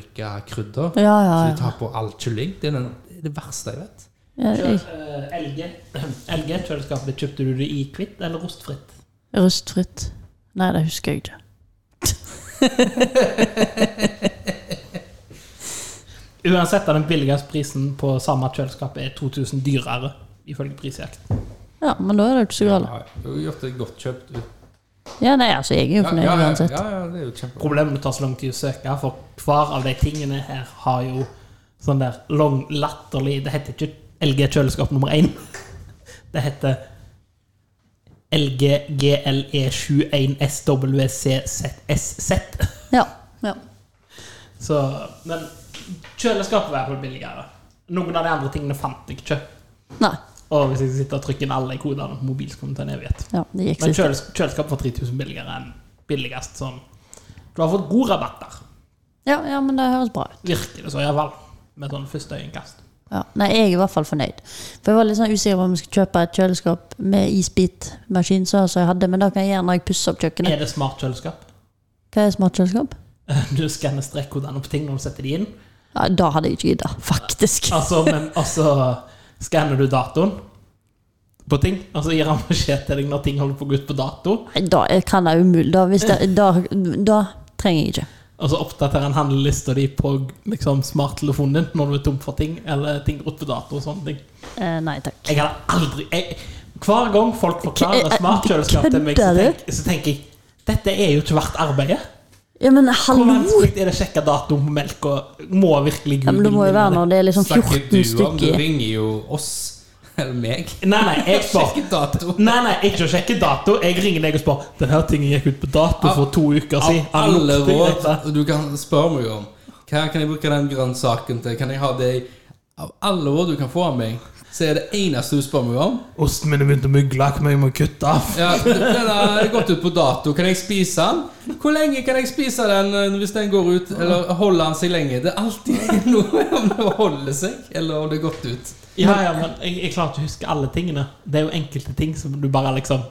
paprikakrydder. Ja, ja, Så de ja. tar på all kylling. Det er den, det, er det verste jeg vet. ja kjø, jeg, eh, LG, LG kjøleskapet, kjøpte du det i kvitt eller rostfritt? rustfritt. Nei, det husker jeg ikke. Uansett er den billigste prisen på samme kjøleskap er 2000 dyrere, ifølge prisjakt. Ja, men da er det jo ikke så galt. Ja, Du har gjort det godt kjøpt. ut. Ja, nei, altså, jeg er jo Ja, ja, fornøyd ja, uansett. ja, ja, det er jo kjempebra. Problemet det tar så lang tid å søke, for hver av de tingene her har jo sånn der lang, latterlig Det heter ikke LG kjøleskap nummer én. Det heter LG E GLE71SWCZSZ. Ja. ja. Så, men kjøleskapet var iallfall billigere. Noen av de andre tingene fant jeg ikke. Nei. Og hvis jeg sitter og trykker inn alle kodene på mobil, så kommer det til en evighet. Ja, det gikk Men sist. kjøles kjøleskapet var 3000 billigere enn billigst. Sånn. Du har fått god rabatt der, Ja, ja, men det høres bra ut. virker det som, iallfall. Med sånn første øyekast. Ja. Nei, jeg er i hvert fall fornøyd. For jeg var litt sånn usikker på om jeg skulle kjøpe et kjøleskap med isbitmaskin, så som jeg hadde, men det kan jeg gjøre når jeg pusser opp kjøkkenet. Er det smart kjøleskap? Hva er smart kjøleskap? Du skanner strekkodene på ting når du setter de inn. Ja, da hadde jeg ikke gidda, faktisk. Altså, men, og så skanner du datoen på ting, og så gir han beskjed til deg når ting holder på å gå ut på dato. Nei, Da jeg kan det umulig. Da, hvis det, da, da trenger jeg ikke. Og så oppdaterer han handlelista di på liksom, smarttelefonen din når du er tom for ting, eller ting går ut på dato og sånne ting. Eh, nei takk. Jeg hadde aldri jeg, Hver gang folk forklarer K- eh, smartkjøleskap til meg, så kødder du? tenker, så tenker jeg dette er jo ikke verdt arbeidet. Ja, men Hvor hallo! vanskelig er det å sjekke datoen på melka? Må virkelig Ja, men det må jo være når det er liksom Snakker 14 du om? Du stykker. ringer jo oss. Eller meg. Nei, nei, jeg spør. Sjekk dato. Nei, nei, ikke å sjekke dato. Jeg ringer deg og spør. Den her tingen gikk ut på dato for to uker Av siden. Han alle lukter råd dette. du kan spørre meg om. Hva kan jeg bruke den grønnsaken til? Kan jeg ha det i Av alle råd du kan få av meg, Så er det eneste du spør meg om Osten min er begynt å mygle, hva må jeg må kutte av? ja, Den har gått ut på dato. Kan jeg spise den? Hvor lenge kan jeg spise den eh, hvis den går ut? Eller holder den seg lenge? Det er alltid noe om det holder seg, eller om det er gått ut. Ja, ja, men jeg, jeg klarer ikke å huske alle tingene. Det er jo enkelte ting som du bare liksom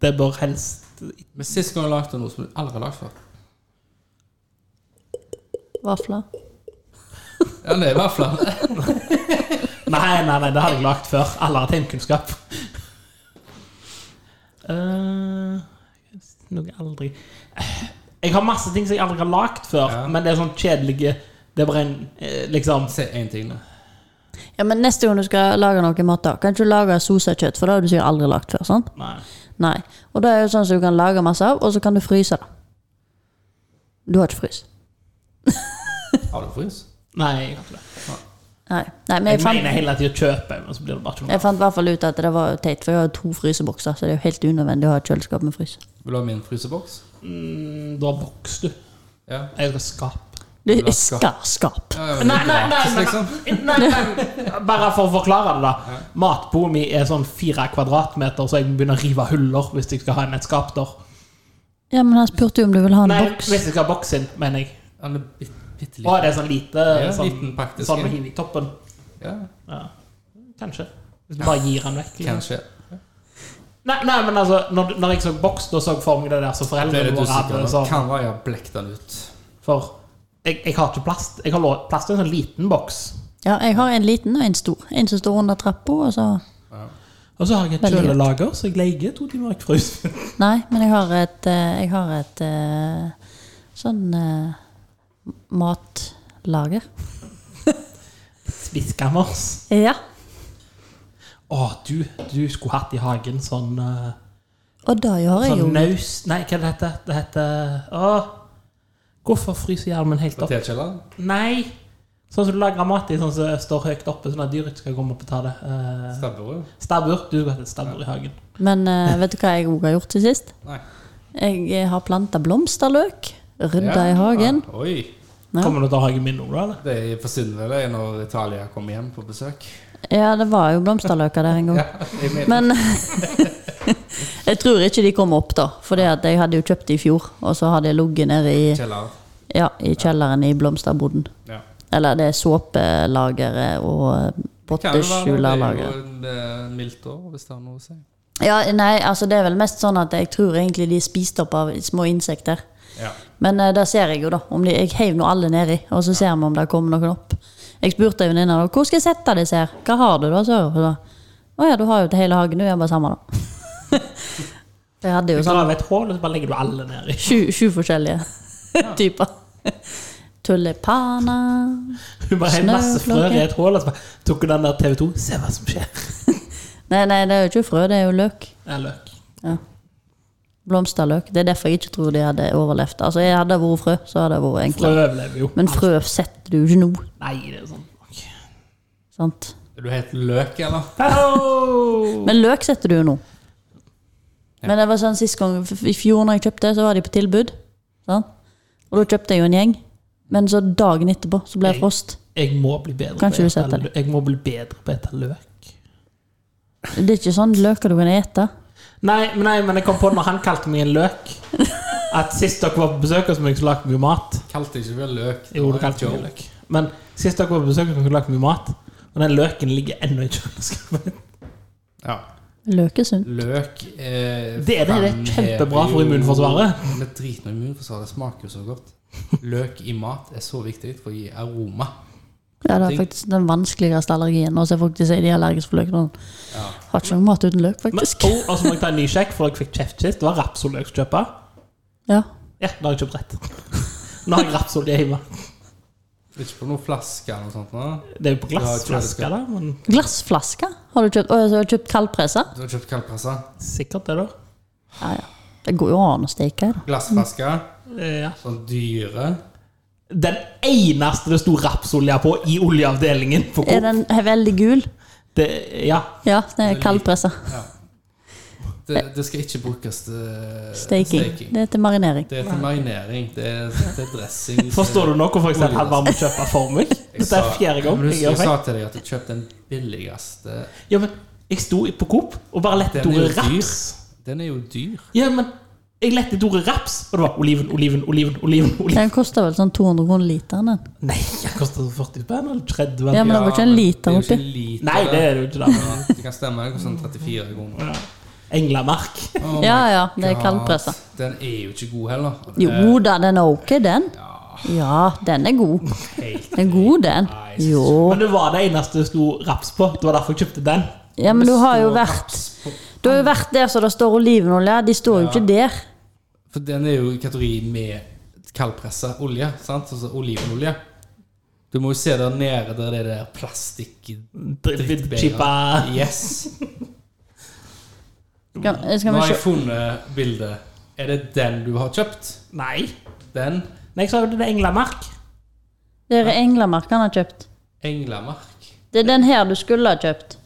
Det bør helst Men sist gang jeg lagde noe som du aldri har lagd før Vafler. Ja, det er vafler. Nei, nei, nei, det hadde jeg lagd før. Alle har tegnkunnskap. Eh, noe aldri Jeg har masse ting som jeg aldri har lagd før, Ja. men det er sånn kjedelige Det er bare en eh, liksom Si én ting nå. Ja, men neste gang du skal lage noe mat, da, kan ikke du lage sosekjøtt, for det har du sikkert aldri lagt før. sant? Nei. Nei. Og det er jo sånn som du kan lage masse av, og så kan du fryse det. Du har ikke frys. Har du frys? nei jeg har ikke det. Nei. Nei, men Jeg jeg fant, mener hele tiden å kjøpe, men så blir det bare ikke noe. jeg fant i hvert fall ut at det var teit, for jeg har jo to frysebokser, så det er jo helt unødvendig å ha et kjøleskap med frys. Vil du ha min fryseboks? Mm, Du har boks, du. Ja. Jeg har skap. Du Vil du ha skap? skal skap. ja, ja men Nei, nei, nei, gratis, nei. liksom. Nei, nei, bare for å forklare det, da. Matbordet mitt er sånn fire kvadratmeter, så jeg må begynne å rive huller hvis jeg skal ha inn et skap der. Ja, men han spurte jo om du ville ha en Nei, boks. hvis jeg skal ha boks inn, mener jeg. Den er bitt- bitte Å, liten. det er sånn lite Ja, sånn, liten praktisk sånn en. med hiv i toppen. Ja, Ja. Kanskje. Hvis du bare gir den vekk. Liksom. kanskje. Nei, nei, men altså, når, når jeg så boks, da så jeg for meg det der som Jeg ble foreldrene litt våre usikker. hadde. nå. sånn. Kan være jeg har blekt den ut. for jeg, jeg har ikke plast. Jeg har lå- plass til en sånn liten boks. Ja, jeg har en liten og en stor. En som står under trappa, og så Og så har jeg et Veldig godt. kjølelager, så jeg leier to timer jeg frys. Nei, men jeg har et, eh, jeg har et eh, sånn eh, matlager. Spiskammers. Ja. Å, du, du skulle hatt i hagen sånn eh, Og det gjør jeg jo. Sånn naus Nei, hva det heter det? heter Å, hvorfor fryser hjelmen helt opp? Potetkjelleren? Nei! Sånn som du lager mat i, sånn som står høyt oppe, sånn at dyr ikke skal komme opp og ta det. Eh, Stabburet? stabbur. Du skulle hatt et stabbur i hagen. Men eh, vet du hva jeg òg har gjort til sist? Nei. Jeg eh, har planta blomsterløk. Rydda i hagen. Ja. Ah, Oi. Ja. Kommer du til å ha hagen min nå, da? eller? Det forsvinner det når Italia kommer hjem på besøk. Ja, det var jo blomsterløker der en gang. Jeg mener, Men jeg tror ikke de kom opp, da. For jeg hadde jo kjøpt det i fjor, og så hadde jeg ligget nede i, kjeller. ja, i kjelleren i blomsterboden. Ja. Eller det er såpelageret og eh, Kan jo være noe- potteskjulerlageret. Det er jo en, eh, mildt år, hvis det har noe å si. Ja, nei, altså det er vel mest sånn at jeg tror egentlig de er spist opp av små insekter. Ja. Men eh, det ser jeg jo, da. Om de, jeg heiv nå alle nedi, og så ser vi om det kommer noen opp. Jeg spurte en venninne da, hvor skal jeg sette disse her. Hva har du da, sa hun. Hun sa, Å ja, du har jo til hele hagen. Du er bare sammen, da. jeg hadde jo Du kan sånn lage et hull, og så bare legger du alle nedi. sju, sju forskjellige typer. Tulipaner Hun bare har en masse Snøflokke. frør i et hull, og så bare tok hun den der TV2. Se hva som skjer. Nei, nei, det er jo ikke frø, det er jo løk. Ja, løk. Blomsterløk. Det er derfor jeg ikke tror de hadde overlevd. Altså, jeg hadde vært frø, så hadde det vært Frø enklere. overlever jo. Men frø setter du jo ikke nå, Nei, det er sånn Ok. sant? Er du helt løk, eller? Hello! Men løk setter du jo nå. Men det var sånn sist gang, f- i fjor når jeg kjøpte, så var de på tilbud. Sant? Og da kjøpte jeg jo en gjeng. Men så dagen etterpå så ble det frost. Jeg må bli bedre Kanskje på du å ete setter løk. Jeg må bli bedre på å ete løk. Det er ikke sånn løker du kan ete. Nei, men nei, men jeg kom på når han kalte meg en løk. At sist dere var på besøk hos meg, så lagde vi jo mat. Kalte ikke vel løk? Jo, du Det var en kalte meg joke. løk. Men sist dere var på besøk hos meg, så lagde vi mat. Og den løken ligger ennå i kjøleskapet. Ja. Løk er sunt. Løk eh, Det er det, det er fremhever kjempebra for jo- immunforsvaret. Men drit i immunforsvaret. Det smaker jo så godt. Løk i mat er så viktig for å gi aroma. Ja, det er faktisk den vanskeligste allergien. Og så er folk de sier de er allergiske for løk. Sånn. Ja. Har ikke noe mat uten løk, Men, faktisk. oh, og så må jeg ta en ny sjekk, for jeg fikk kjeft sist. Det var rapsolje jeg skulle kjøpe. Ja. Ja, da har jeg kjøpt rett. Nå har jeg rapsolje hjemme. Ikke på noen flaske eller noe sånt. Nå. Det er jo på Ja, kjøleskap. glassflaske, da. Men Glassflasker har du kjøpt? Å, så har du kjøpt kaldpressa? Du har kjøpt kaldpressa? sikkert det, da. Ja, ja. Det går jo an å steke. da. Glassflaske? Eh, Ja. Sånn dyre? Den eneste det sto rapsolje på i oljeavdelingen Er på Coop. den er veldig gul? Det- Ja. Ja, det er kaldpressa. Det, det skal ikke brukes til Staking. staking. Det er til marinering. Det er til marinering. Det er til dressing. Forstår du nå hvorfor jeg selv hadde vært med å kjøpe for meg? Dette er fjerde gang jeg, jeg gjør feil. sa til deg at du kjøpte den billigste. sånn. Ja, men jeg sto på Coop og bare lette Den er jo ordet dyr. raps. Den er jo dyr. Ja, men jeg lette etter ordet raps, og det var oliven, oliven, oliven, oliven. oliven. Den koster vel sånn 200 kroner literen, den. Nei, den koster 40 spenn eller 30. Ja, men det var ikke en men liter det er jo ikke oppi. en liter, Nei, det er det jo ikke. da. Ja, Det kan stemme. Det koster sånn 34 kroner. Ja. Englemark. Oh Ja my ja, det er God. kaldpressa. Den er jo ikke god heller. Og det er Jo da, den er ok, den. Ja, den er god. helt- Den er god, den. Jo. Men det var det eneste det sto raps på. Det var derfor jeg kjøpte den. Ja, men du har jo Stor vært raps på- Du har jo vært der så det står olivenolje. De står jo ikke der. For den er jo i kategori med kaldpressa olje, sant? Altså olivenolje. Du må jo se der nede der det er der plastikk Drittbeger. Chippa Yes. Skal, skal Nå vi har jeg se. funnet bildet. Er det den du har kjøpt? Nei. Den? Nei, jeg sa jo det er Englemark. Det er Englamark han har kjøpt. Englemark. Det er den her du skulle ha kjøpt.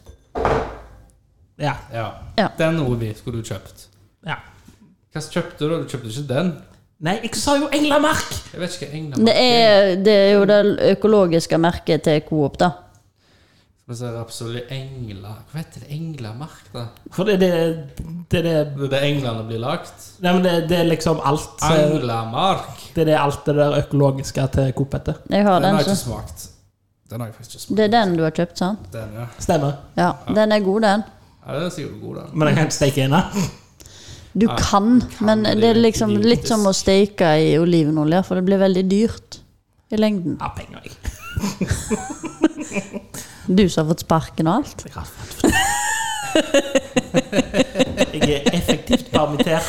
Ja. Ja. Ja. Den Ovi skulle du kjøpt. ja. Hva kjøpte du? da? Du kjøpte ikke den. Nei, jeg sa jo Englemark! Jeg vet ikke hva Englemark Det er, det er jo det økologiske merket til Coop, da. Skal vi se, Rapsolje Engla Hva heter det? Englamark, da? For det er det, det, er det Det er der englene blir lagt? Nei, men det, det er liksom alt så, Anglamark! Det er det alt det der økologiske til Coop heter. Jeg har Den har den, jeg ikke så. smakt. Den har jeg faktisk ikke smakt. Det er den du har kjøpt, sant? Den, ja. Stemmer. Ja, den er god, den. ja, den er sikkert god, den. Men jeg kan ikke steke inn den. Du kan, men det det er er liksom idiotisk. litt som å steke i olivenolje, for det blir veldig dyrt i lengden. Ja, penger, jeg. Du som har fått sparken og alt. Jeg har fått- Jeg er effektivt permittert.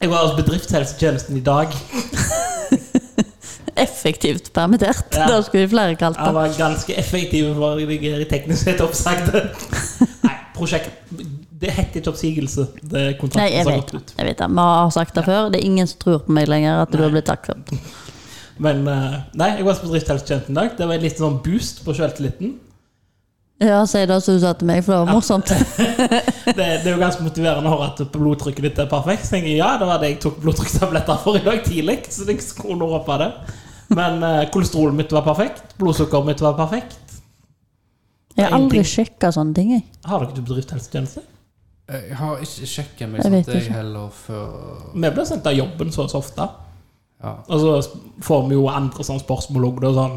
Jeg var hos bedriftshelsetjenesten i dag. Effektivt permittert. Ja. Det skulle vi flere kalt Jeg det. var ganske effektiv for jeg er teknisk sett oppsagt. Nei, prosjekt Det heter ikke oppsigelse. Det er kontrakten Nei, jeg som har vet, gått ut. jeg vet det. Vi har sagt det før. Det er ingen som tror på meg lenger at du har blitt takket. Men eh, nei, jeg var hos bedriftshelsetjenesten i dag. Det var en liten sånn boost på selvtilliten. Ja, si det som du sa til meg, for det var morsomt. Det, det er jo ganske motiverende å høre at blodtrykket ditt er perfekt. Så tenker jeg, ja, det var det jeg tok blodtrykkstabletter for i dag tidlig. Så jeg kunne håpe det. Men eh, kolesterolet mitt var perfekt. Blodsukkeret mitt var perfekt. Jeg har aldri sjekka sånne ting, jeg. Har dere ikke bedriftshelsetjeneste? Eh, Jeg har ikke sjekka meg Jeg sånn vet at jeg ikke. heller før Vi blir sendt av jobben så og så ofte. ja. Og så sp- får vi jo andre sånne spørsmål òg. Sånn,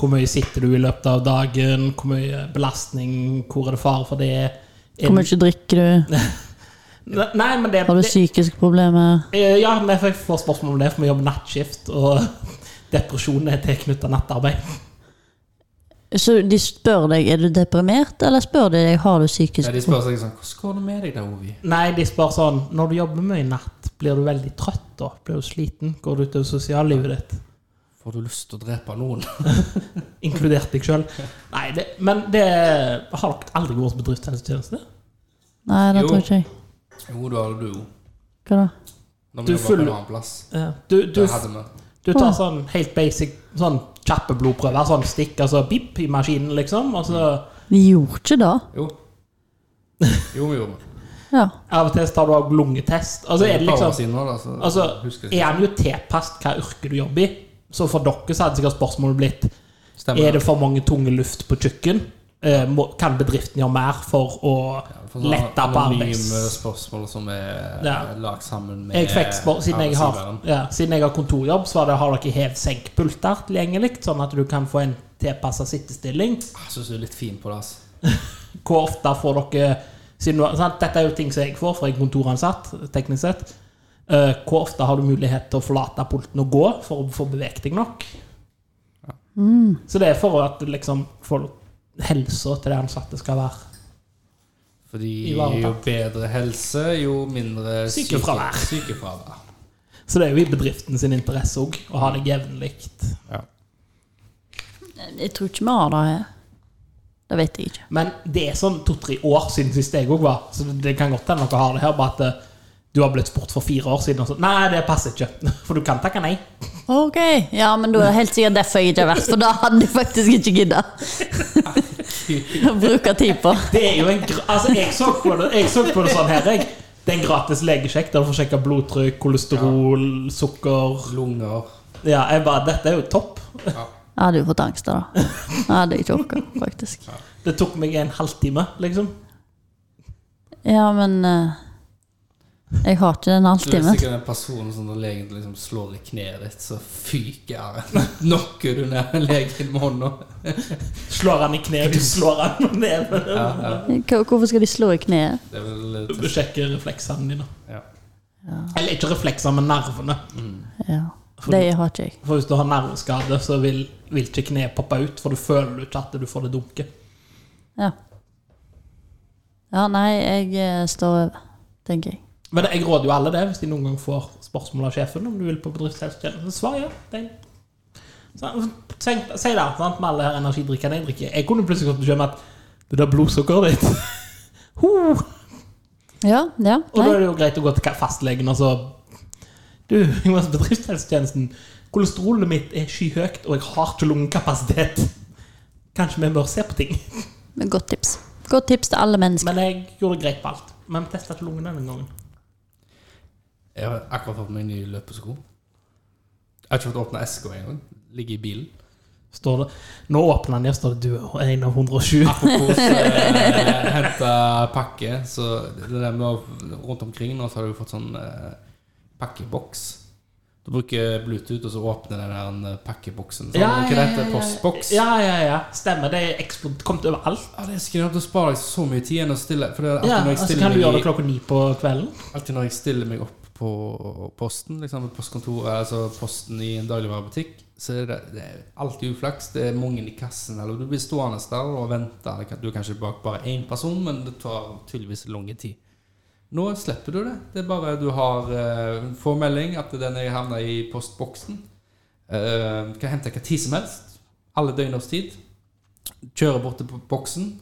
hvor mye sitter du i løpet av dagen? Hvor mye belastning? Hvor er det fare for det? Er Hvor det- mye drikker du? Ne- Nei, men det, Har du det psykiske problemer? Eh, Ja, men jeg får spørsmål om det, for vi jobber nattskift, og depresjon er tilknyttet nattarbeid. Så de spør deg er du deprimert, eller spør de deg har du psykisk Ja, De spør seg sånn Hvordan går det med deg da, Ovi? Nei, de spør sånn Når du jobber mye natt, blir du veldig trøtt da? Blir du sliten? Går du utover sosiallivet ditt? Får du lyst til å drepe noen? Inkludert deg sjøl? Nei, det, men det har dere aldri vært hos bedriftshelsetjeneste? Nei, det Jo. tror ikke jeg. Jo, det har du. Hva da? Når Du vi jobber på følger- en annen plass. Du, du, Det hadde vi. du tar sånn helt basic sånn kjappe blodprøver, sånn stikk, altså bip i maskinen, liksom, og så Vi gjorde ikke det. Jo. Jo, vi gjorde det. Ja. av og til tar du også lungetest. Altså, er et det par år liksom siden nå, da, så Altså, husker er jeg han jo tilpasset hva yrke du jobber i? Så for dere så hadde sikkert spørsmålet blitt ikke. Stemmer. Er det for mange tunge luft på kjøkken? Eh, må- Kan bedriften gjøre mer for å For sånne lette på Anonyme arbeids... spørsmål som er eh, Ja. lagt sammen med Jeg fikk spør siden, jeg har, arbeidsgiveren. ja, siden jeg har kontorjobb, så var det har dere hev-senk-pulter tilgjengelig, sånn at du kan få en tilpassa sittestilling. Ah, Jeg syns du er litt fin på det. Altså. Hvor ofte får dere siden, du- sant? Dette er jo ting som jeg får, for jeg er kontoransatt, teknisk sett. Eh, Hvor ofte har du mulighet til å forlate pulten og gå for å få beveget deg nok? Så det er for at liksom, for helsa til de ansatte skal være Fordi Ivaretatt. jo bedre helse, jo mindre syke- Sykefravær. sykefravær. Så det er jo i bedriften sin interesse òg, å ha det jevnlig. Ja. Jeg tror ikke vi har det her. Det vet jeg ikke. Men det er sånn to-tre år siden sist jeg òg var, så det kan godt hende dere har det her, bare at eh, du har blitt spurt for fire år siden, og så Nei, det passer ikke. For du kan takke nei. Ok, ja, men da er det helt sikkert derfor jeg ikke har vært, for da hadde jeg faktisk ikke gidda. tid. Bruker tid på. Det er jo en gra altså, jeg, så på det, jeg så på det sånn her, jeg. Det er en gratis legesjekk der du får sjekka blodtrykk, kolesterol, sukker Lunger. Ja, jeg bare, Dette er jo topp. Jeg hadde jo fått angst da. da. Jeg hadde ikke orka, faktisk. Det tok meg en halvtime, liksom. Ja, men eh, Jeg har ikke den Du er halvtimen. sikkert den personen som når legen liksom slår i kneet ditt, så fyker jeg. Knocker du ned legen med hånda. Slår han i kneet, du slår han med neven. Ja, ja. Hva- Hvorfor skal de slå i kneet? Det er vel eh, Du sjekker refleksene dine. ja. Eller ikke reflekser, men nervene. Ja. Det har ikke jeg. For hvis du har nerveskade, så vil, vil ikke kneet poppe ut, for du føler jo ikke at du får det dunket. Ja. Ja, nei, jeg eh, står over, tenker jeg. Men jeg råder jo alle det, hvis de noen gang får spørsmål av sjefen om du vil på bedriftshelsetjeneste. Svar ja. Det er en- Så, tenk, si det, sant, med alle her energidrikkene jeg drikker. Jeg kunne plutselig fått beskjed om at det der blodsukkeret ditt Ho! Ja, ja. Og da Nei. er det jo greit å gå til ka- fastlegen og så Du, jeg må til bedriftshelsetjenesten. Kolesterolet mitt er skyhøyt, og jeg har ikke lungekapasitet. Kanskje vi bør se på ting. Men Godt tips. Godt tips til alle mennesker. Men jeg gjorde det greit på alt. Men vi testa ikke lungen denne gangen. Jeg har akkurat fått meg nye løpesko. Jeg har ikke fått åpna eska engang. Ligger i bilen. Står det. Nå åpner den, og står det du er en av 107. Apropos eh, hente pakke, så det der med å, rundt omkring nå så har du fått sånn eh, pakkeboks. Du bruker Bluetooth, og så åpner den her eh, pakkeboksen. Sånn. Hva det heter Postboks. Ja, ja, ja. Stemmer. Det er eksplod- kommet overalt. Ja, det er skrevet, Da sparer jeg så mye tid enn å stille. For det er alltid, Ja, når, jeg altså, stiller kan du gjøre det meg, klokka ni på kvelden? i- alltid når jeg stiller meg opp på posten, liksom på postkontoret, altså posten i en dagligvarebutikk, så er det, det er alltid uflaks. Det er mange i kassen, eller du blir stående der og vente. eller kan- Du er kanskje bak bare én person, men det tar tydeligvis lang tid. Nå slipper du det. Det er bare du har eh, får melding at den er havna i postboksen. Uh, kan hente hva tid som helst. Alle døgnets tid. Kjører bort til p- boksen.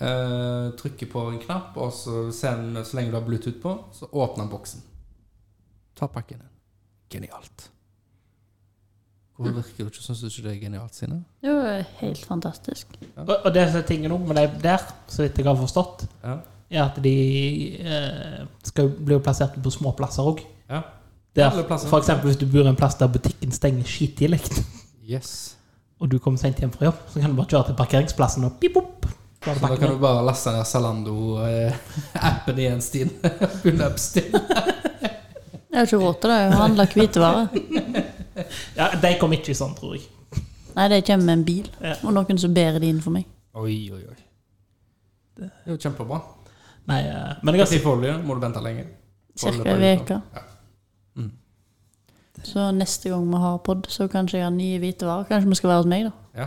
eh, trykker på en knapp, og så, send, så lenge du har Bluetooth på, så åpner han boksen. Ta pakken din. Genialt. Hvorfor virker du ikke Syns du ikke det er genialt, Sine? Det var helt fantastisk. Og, og det som er tingen òg med de der, så vidt jeg har forstått, Ja. er at de eh, skal bli jo plassert på små plasser òg. ja. Alle plasser. F.eks. hvis du bor en plass der butikken stenger skittidlig, Yes. og du kommer sent hjem fra jobb, så kan du bare kjøre til parkeringsplassen og pip opp. Så har Så du da pakken kan din. du bare laste ned eh, Zalando-appen igjen, Stine. Begynne å bestille. Jeg har ikke råd til det. Jeg handler hvitevarer. Ja, de kom ikke i sånn, tror jeg. Nei, de kommer med en bil. Ja. Og noen som bærer de inn for meg. Oi, oi, oi. Det er jo kjempebra. Nei, eh, men jeg har Hvis de får olje, må du vente lenge. Får Cirka det en på utlån. uke. Ja. Så neste gang vi har pod, så kanskje jeg har nye hvitevarer. Kanskje vi skal være hos meg, da. Ja,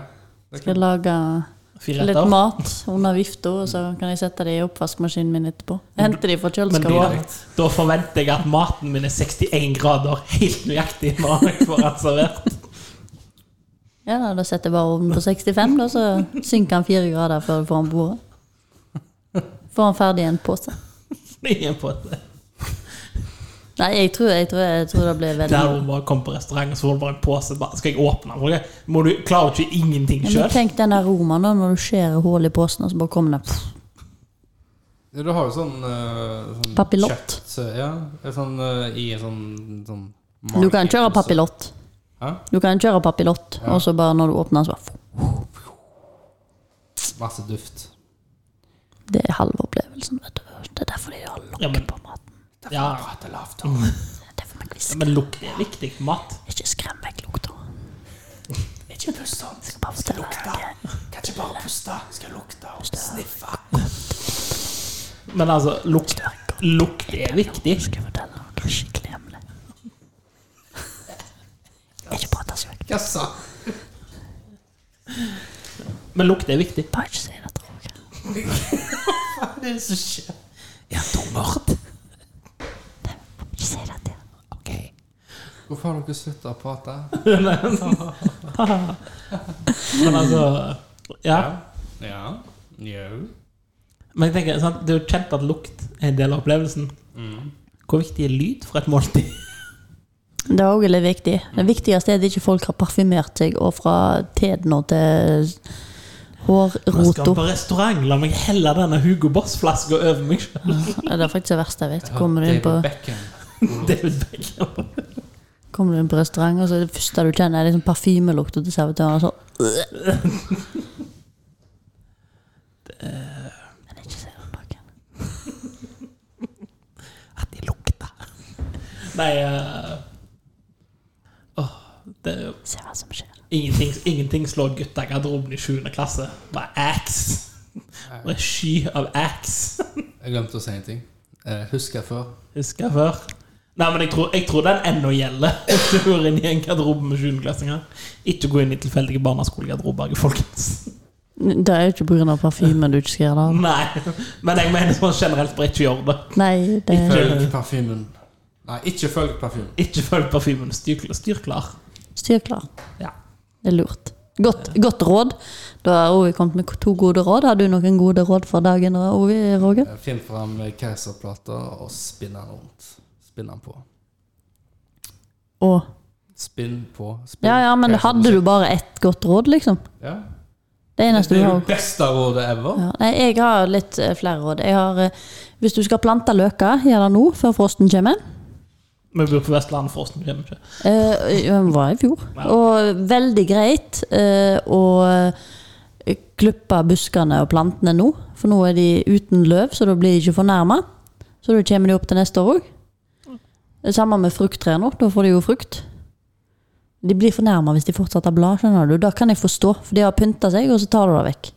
det Skal kan. jeg lage fire litt retter. mat under vifta, og så kan jeg sette det i oppvaskmaskinen min etterpå. Hente de fra Men da, kjøleskapet. da forventer jeg at maten min er 61 grader helt nøyaktig når jeg får den servert. Ja, da, da setter jeg bare ovnen på 65, da, så synker han fire grader før du får den på bordet. Får han ferdig i en pose. Ingen på det. Nei, jeg tror, jeg tror, jeg tror det blir veldig Der hun bare kom på restaurant, og så var det bare en pose. Bare, skal jeg åpne den? Okay? Må du klarer ikke ingenting Ja, men sjøl? tenk den aromaen da, når du skjærer hull i posen, og så bare kommer det pff, Ja, Du har jo sånn, eh, sånn Papillott. kjøtt, så- Ja, eh, sånn eh, i en sånn, sånn Du kan kjøre papillott. Hæ? Du kan kjøre papillott, Ja. og så bare når du åpner, så bare pff, Masse duft. Det er halve opplevelsen, vet du. Det er derfor de har lokk Ja, men- på maten. Ja, Det er derfor vi Ja, kvisker. men lukt er viktig. Mat. Ikke skrem vekk lukta. Ikke pust sånn. Skal bare fortelle deg. Kan ikke bare puste. Skal lukte og sniffe. Men altså, lukt, lukt er viktig. Skal fortelle noe skikkelig hemmelig. Ikke prate så vekk. Hva sa Men lukt er viktig. Bare ikke si det til Roger. Hva er det som skjer? Ja, dummert. Ikke si det til han. Ok. Hvorfor har dere slutta å prate? Men altså Ja. Ja. Jau. Men jeg tenker, sant? det er jo kjent at lukt er en del av opplevelsen. Mm. Hvor viktig er lyd for et måltid? Det er også litt viktig. Det viktigste er at ikke folk har parfymert seg og fra tedna til Jeg skal Hårrotor. på restaurant. La meg helle denne Hugo Boss-flaska over meg sjøl. Ja, Det er faktisk det verste jeg vet. Kommer du inn på, Beckham. David Beckham. kommer du inn på restaurant, og så er det første du kjenner, er liksom parfymelukta til servitøren. og så- Men ikke se på noen. At de lukter. Nei eh, åh, det, er jo- Se hva som skjer. ingenting, ingenting slår gutta i garderoben i 7. klasse. Bare ax. Og en sky av ax. Jeg glemte å si en ting. Eh, husker jeg før. Husker jeg før. Nei, men jeg tror, jeg tror den ennå gjelder. Hvis du hører inn i en garderobe med 7.-klassinger. Ikke gå inn i tilfeldige barneskolegarderober, folkens. Det er jo ikke pga. parfymen du ikke skal gjøre det av. Nei, men jeg mener sånn generelt bare ikke gjør det. Nei, det er Følg parfymen. Nei, ikke følg parfymen. Ikke følg parfymen. Styr, styr klar. styr klar. Ja. Det er lurt. Godt, godt råd. Da har Ovi kommet med to gode råd. Har du noen gode råd for dagen, Ovi Roger? Eh, Finn fram keiserplater og spinn den rundt. Spinn den på. Og Spinn på. Spinn. Ja, ja, men hadde du bare ett godt råd, liksom? Ja. Det Det eneste du er har jo det beste rådet ever. ja. Nei, jeg har litt eh, flere råd. Jeg har eh, Hvis du skal plante løker, gjør det nå, før frosten kommer. Vi bor på Vestlandet, forresten. vi gjør det ikke. Eh, Den var i fjor. Ja. Og veldig greit eh, å eh, klippe buskene og plantene nå, for nå er de uten løv, så da blir de ikke fornærma. Så da kommer de opp til neste år òg. Samme med frukttrær nå, da får de jo frukt. De blir fornærma hvis de fortsatt har blad, skjønner du. Da kan jeg forstå, for de har pynta seg, og så tar du det vekk.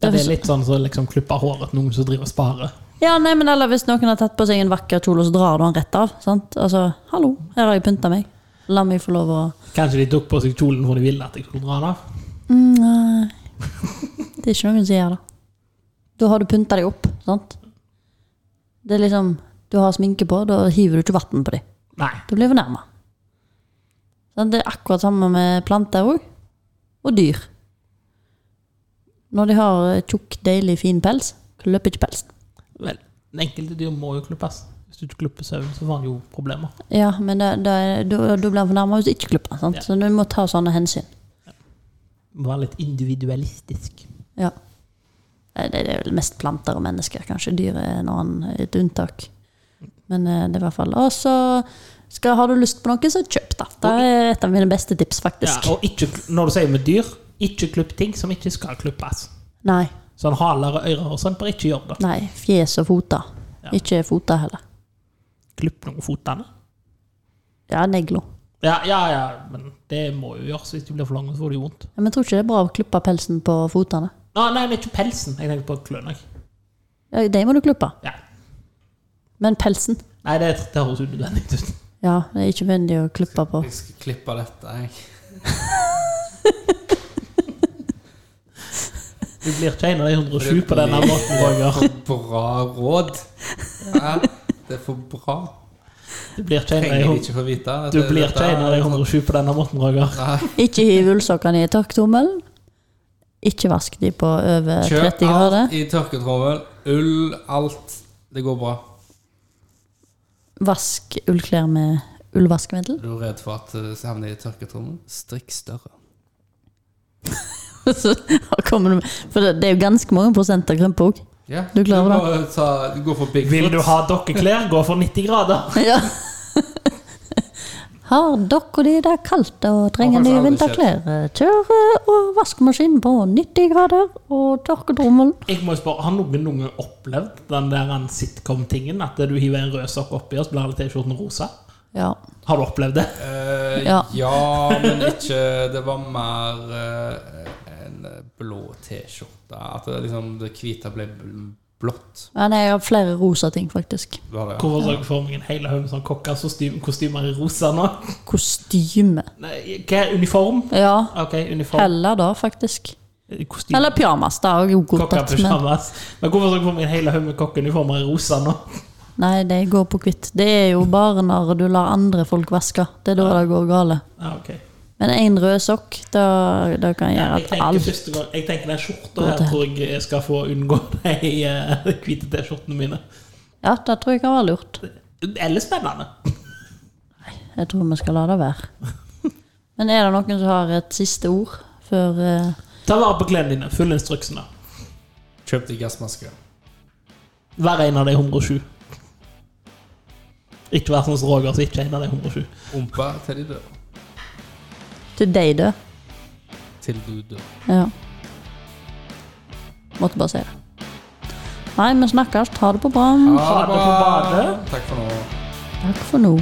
Ja, det er litt sånn som så liksom klipper håret til noen som driver og sparer. Ja, nei, men eller hvis noen har tatt på seg en vakker kjole, og så drar du den rett av. Sant? Altså, hallo, her har jeg pynta meg. La meg få lov å Kanskje de tok på seg kjolen hvor de ville at jeg skulle dra den av. Mm, Nei. Det er ikke noen som gjør det. Da har du pynta deg opp, sant? Det er liksom Du har sminke på, da hiver du ikke vann på dem. Nei. Da blir du fornærma. Det er akkurat samme med planter òg. Og dyr. Når de har eh, tjukk, deilig, fin pels, klipper ikke pelsen. Vel, den enkelte dyr må jo klippes. Hvis du ikke klipper sauen, så får han jo problemer. Ja, men da, da, er- da, da blir han fornærma hvis du ikke klipper den. sant? Ja. Så du må ta sånne hensyn. Må være litt individualistisk. Ja. Nei, Det det er vel mest planter og mennesker, kanskje. Dyr er en annen, et unntak. Men eh, det er i hvert fall Og så skal- har du lyst på noe, så kjøp det. Det er et av mine beste tips, Ja, faktisk. og ikke, når du sier med dyr, ikke klipp ting som ikke skal klippes. Nei. Sånn haler og ører og sånn, bare ikke gjør det. nei, Fjes og foter. Ja. Ikke foter heller. Klipp noen fotene. Ja, negler. Ja, ja, ja, men det må jo gjøres. Hvis de blir for lange, så får de jo vondt. Ja, Men jeg tror ikke det er bra å klippe pelsen på fotene. Ah, nei, men ikke pelsen. Jeg tenkte på kløen. jeg. Ja, De må du klippe. Ja. Men pelsen Nei, det, det høres unødvendig ut. Ja, det er ikke nødvendig å klippe på. Jeg skal klippe dette, jeg. Du blir ikke en av de 107 på denne måten, Roger. For bra råd. Ja, det er for bra. Du blir ikke en av Trenger de jeg 100 ikke få vite. Dette- du blir ikke dette en av de er- sånn 107 på denne måten, Roger. Nei, Ikke hiv ullsokkene i tørketrommelen. Ikke vask de på over 30 Kjøp grader. alt i tørketrommel. Ull, alt. Det går bra. Vask ullklær med ullvaskemiddel. Er du redd for at det havner i tørketrommel? Strikk større. Så kommer du med- For det det er jo ganske mange prosent av krympe òg. Ja, Du klarer du må ta, du går for Bigfoot. Vil du ha dokkeklær, gå for 90 grader. Ja. Har dere de der kaldt og trenger Har faktisk nye aldri vinterklær? Kjør eh, og vaskemaskinen på 90 grader og tørketrommelen. Jeg må jo spørre, Har noen noen gang opplevd den der en sitcom-tingen? At du hiver en rød sokk oppi, og så blir alle T-skjortene rosa? Ja. Har du opplevd det? Eh, Ja. ja. men ikke Det var mer eh, en blå T-skjorte. At det, liksom, det hvite ble bl- blått. Men jeg har flere rosa ting, faktisk. Var det, ja. Hvorfor så jeg for meg en hel haug med sånn kokkekostymer i rosa nå? Kostyme. Nei, Hva er uniform? Ja. Ok, uniform. Heller da, faktisk. Kostyme. Eller pyjamas. Det er jo godtatt, men Kokkepysjamas. Men hvorfor så jeg for meg en hel haug med kokkeuniformer i rosa nå? Nei, de går på hvitt. Det er jo bare når du lar andre folk vaske. Det er da det går gale. Ja, ok. Men én rød sokk, da, da kan jeg gjøre Jeg at tenker, alt første gang, jeg tenker den skjorta Går her til- tror jeg jeg skal få unngå de eh, hvite T-skjortene mine. Ja, det tror jeg kan være lurt. Eller spennende. Jeg tror vi skal la det være. Men er det noen som har et siste ord før eh, Ta vare på klærne dine. Følg instruksene. Kjøp deg gassmaske. Vær en av de 107. Ikke vær sånn som Roger, som ikke er en av de 107. Rumpa til de dør. Til deg, du. Til du dør. Ja. Måtte bare si det. Nei, vi snakkes. Ha det på bra. Ha det på badet. Takk for nå. Takk for nå.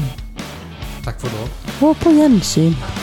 Takk for nå. Og på gjensyn.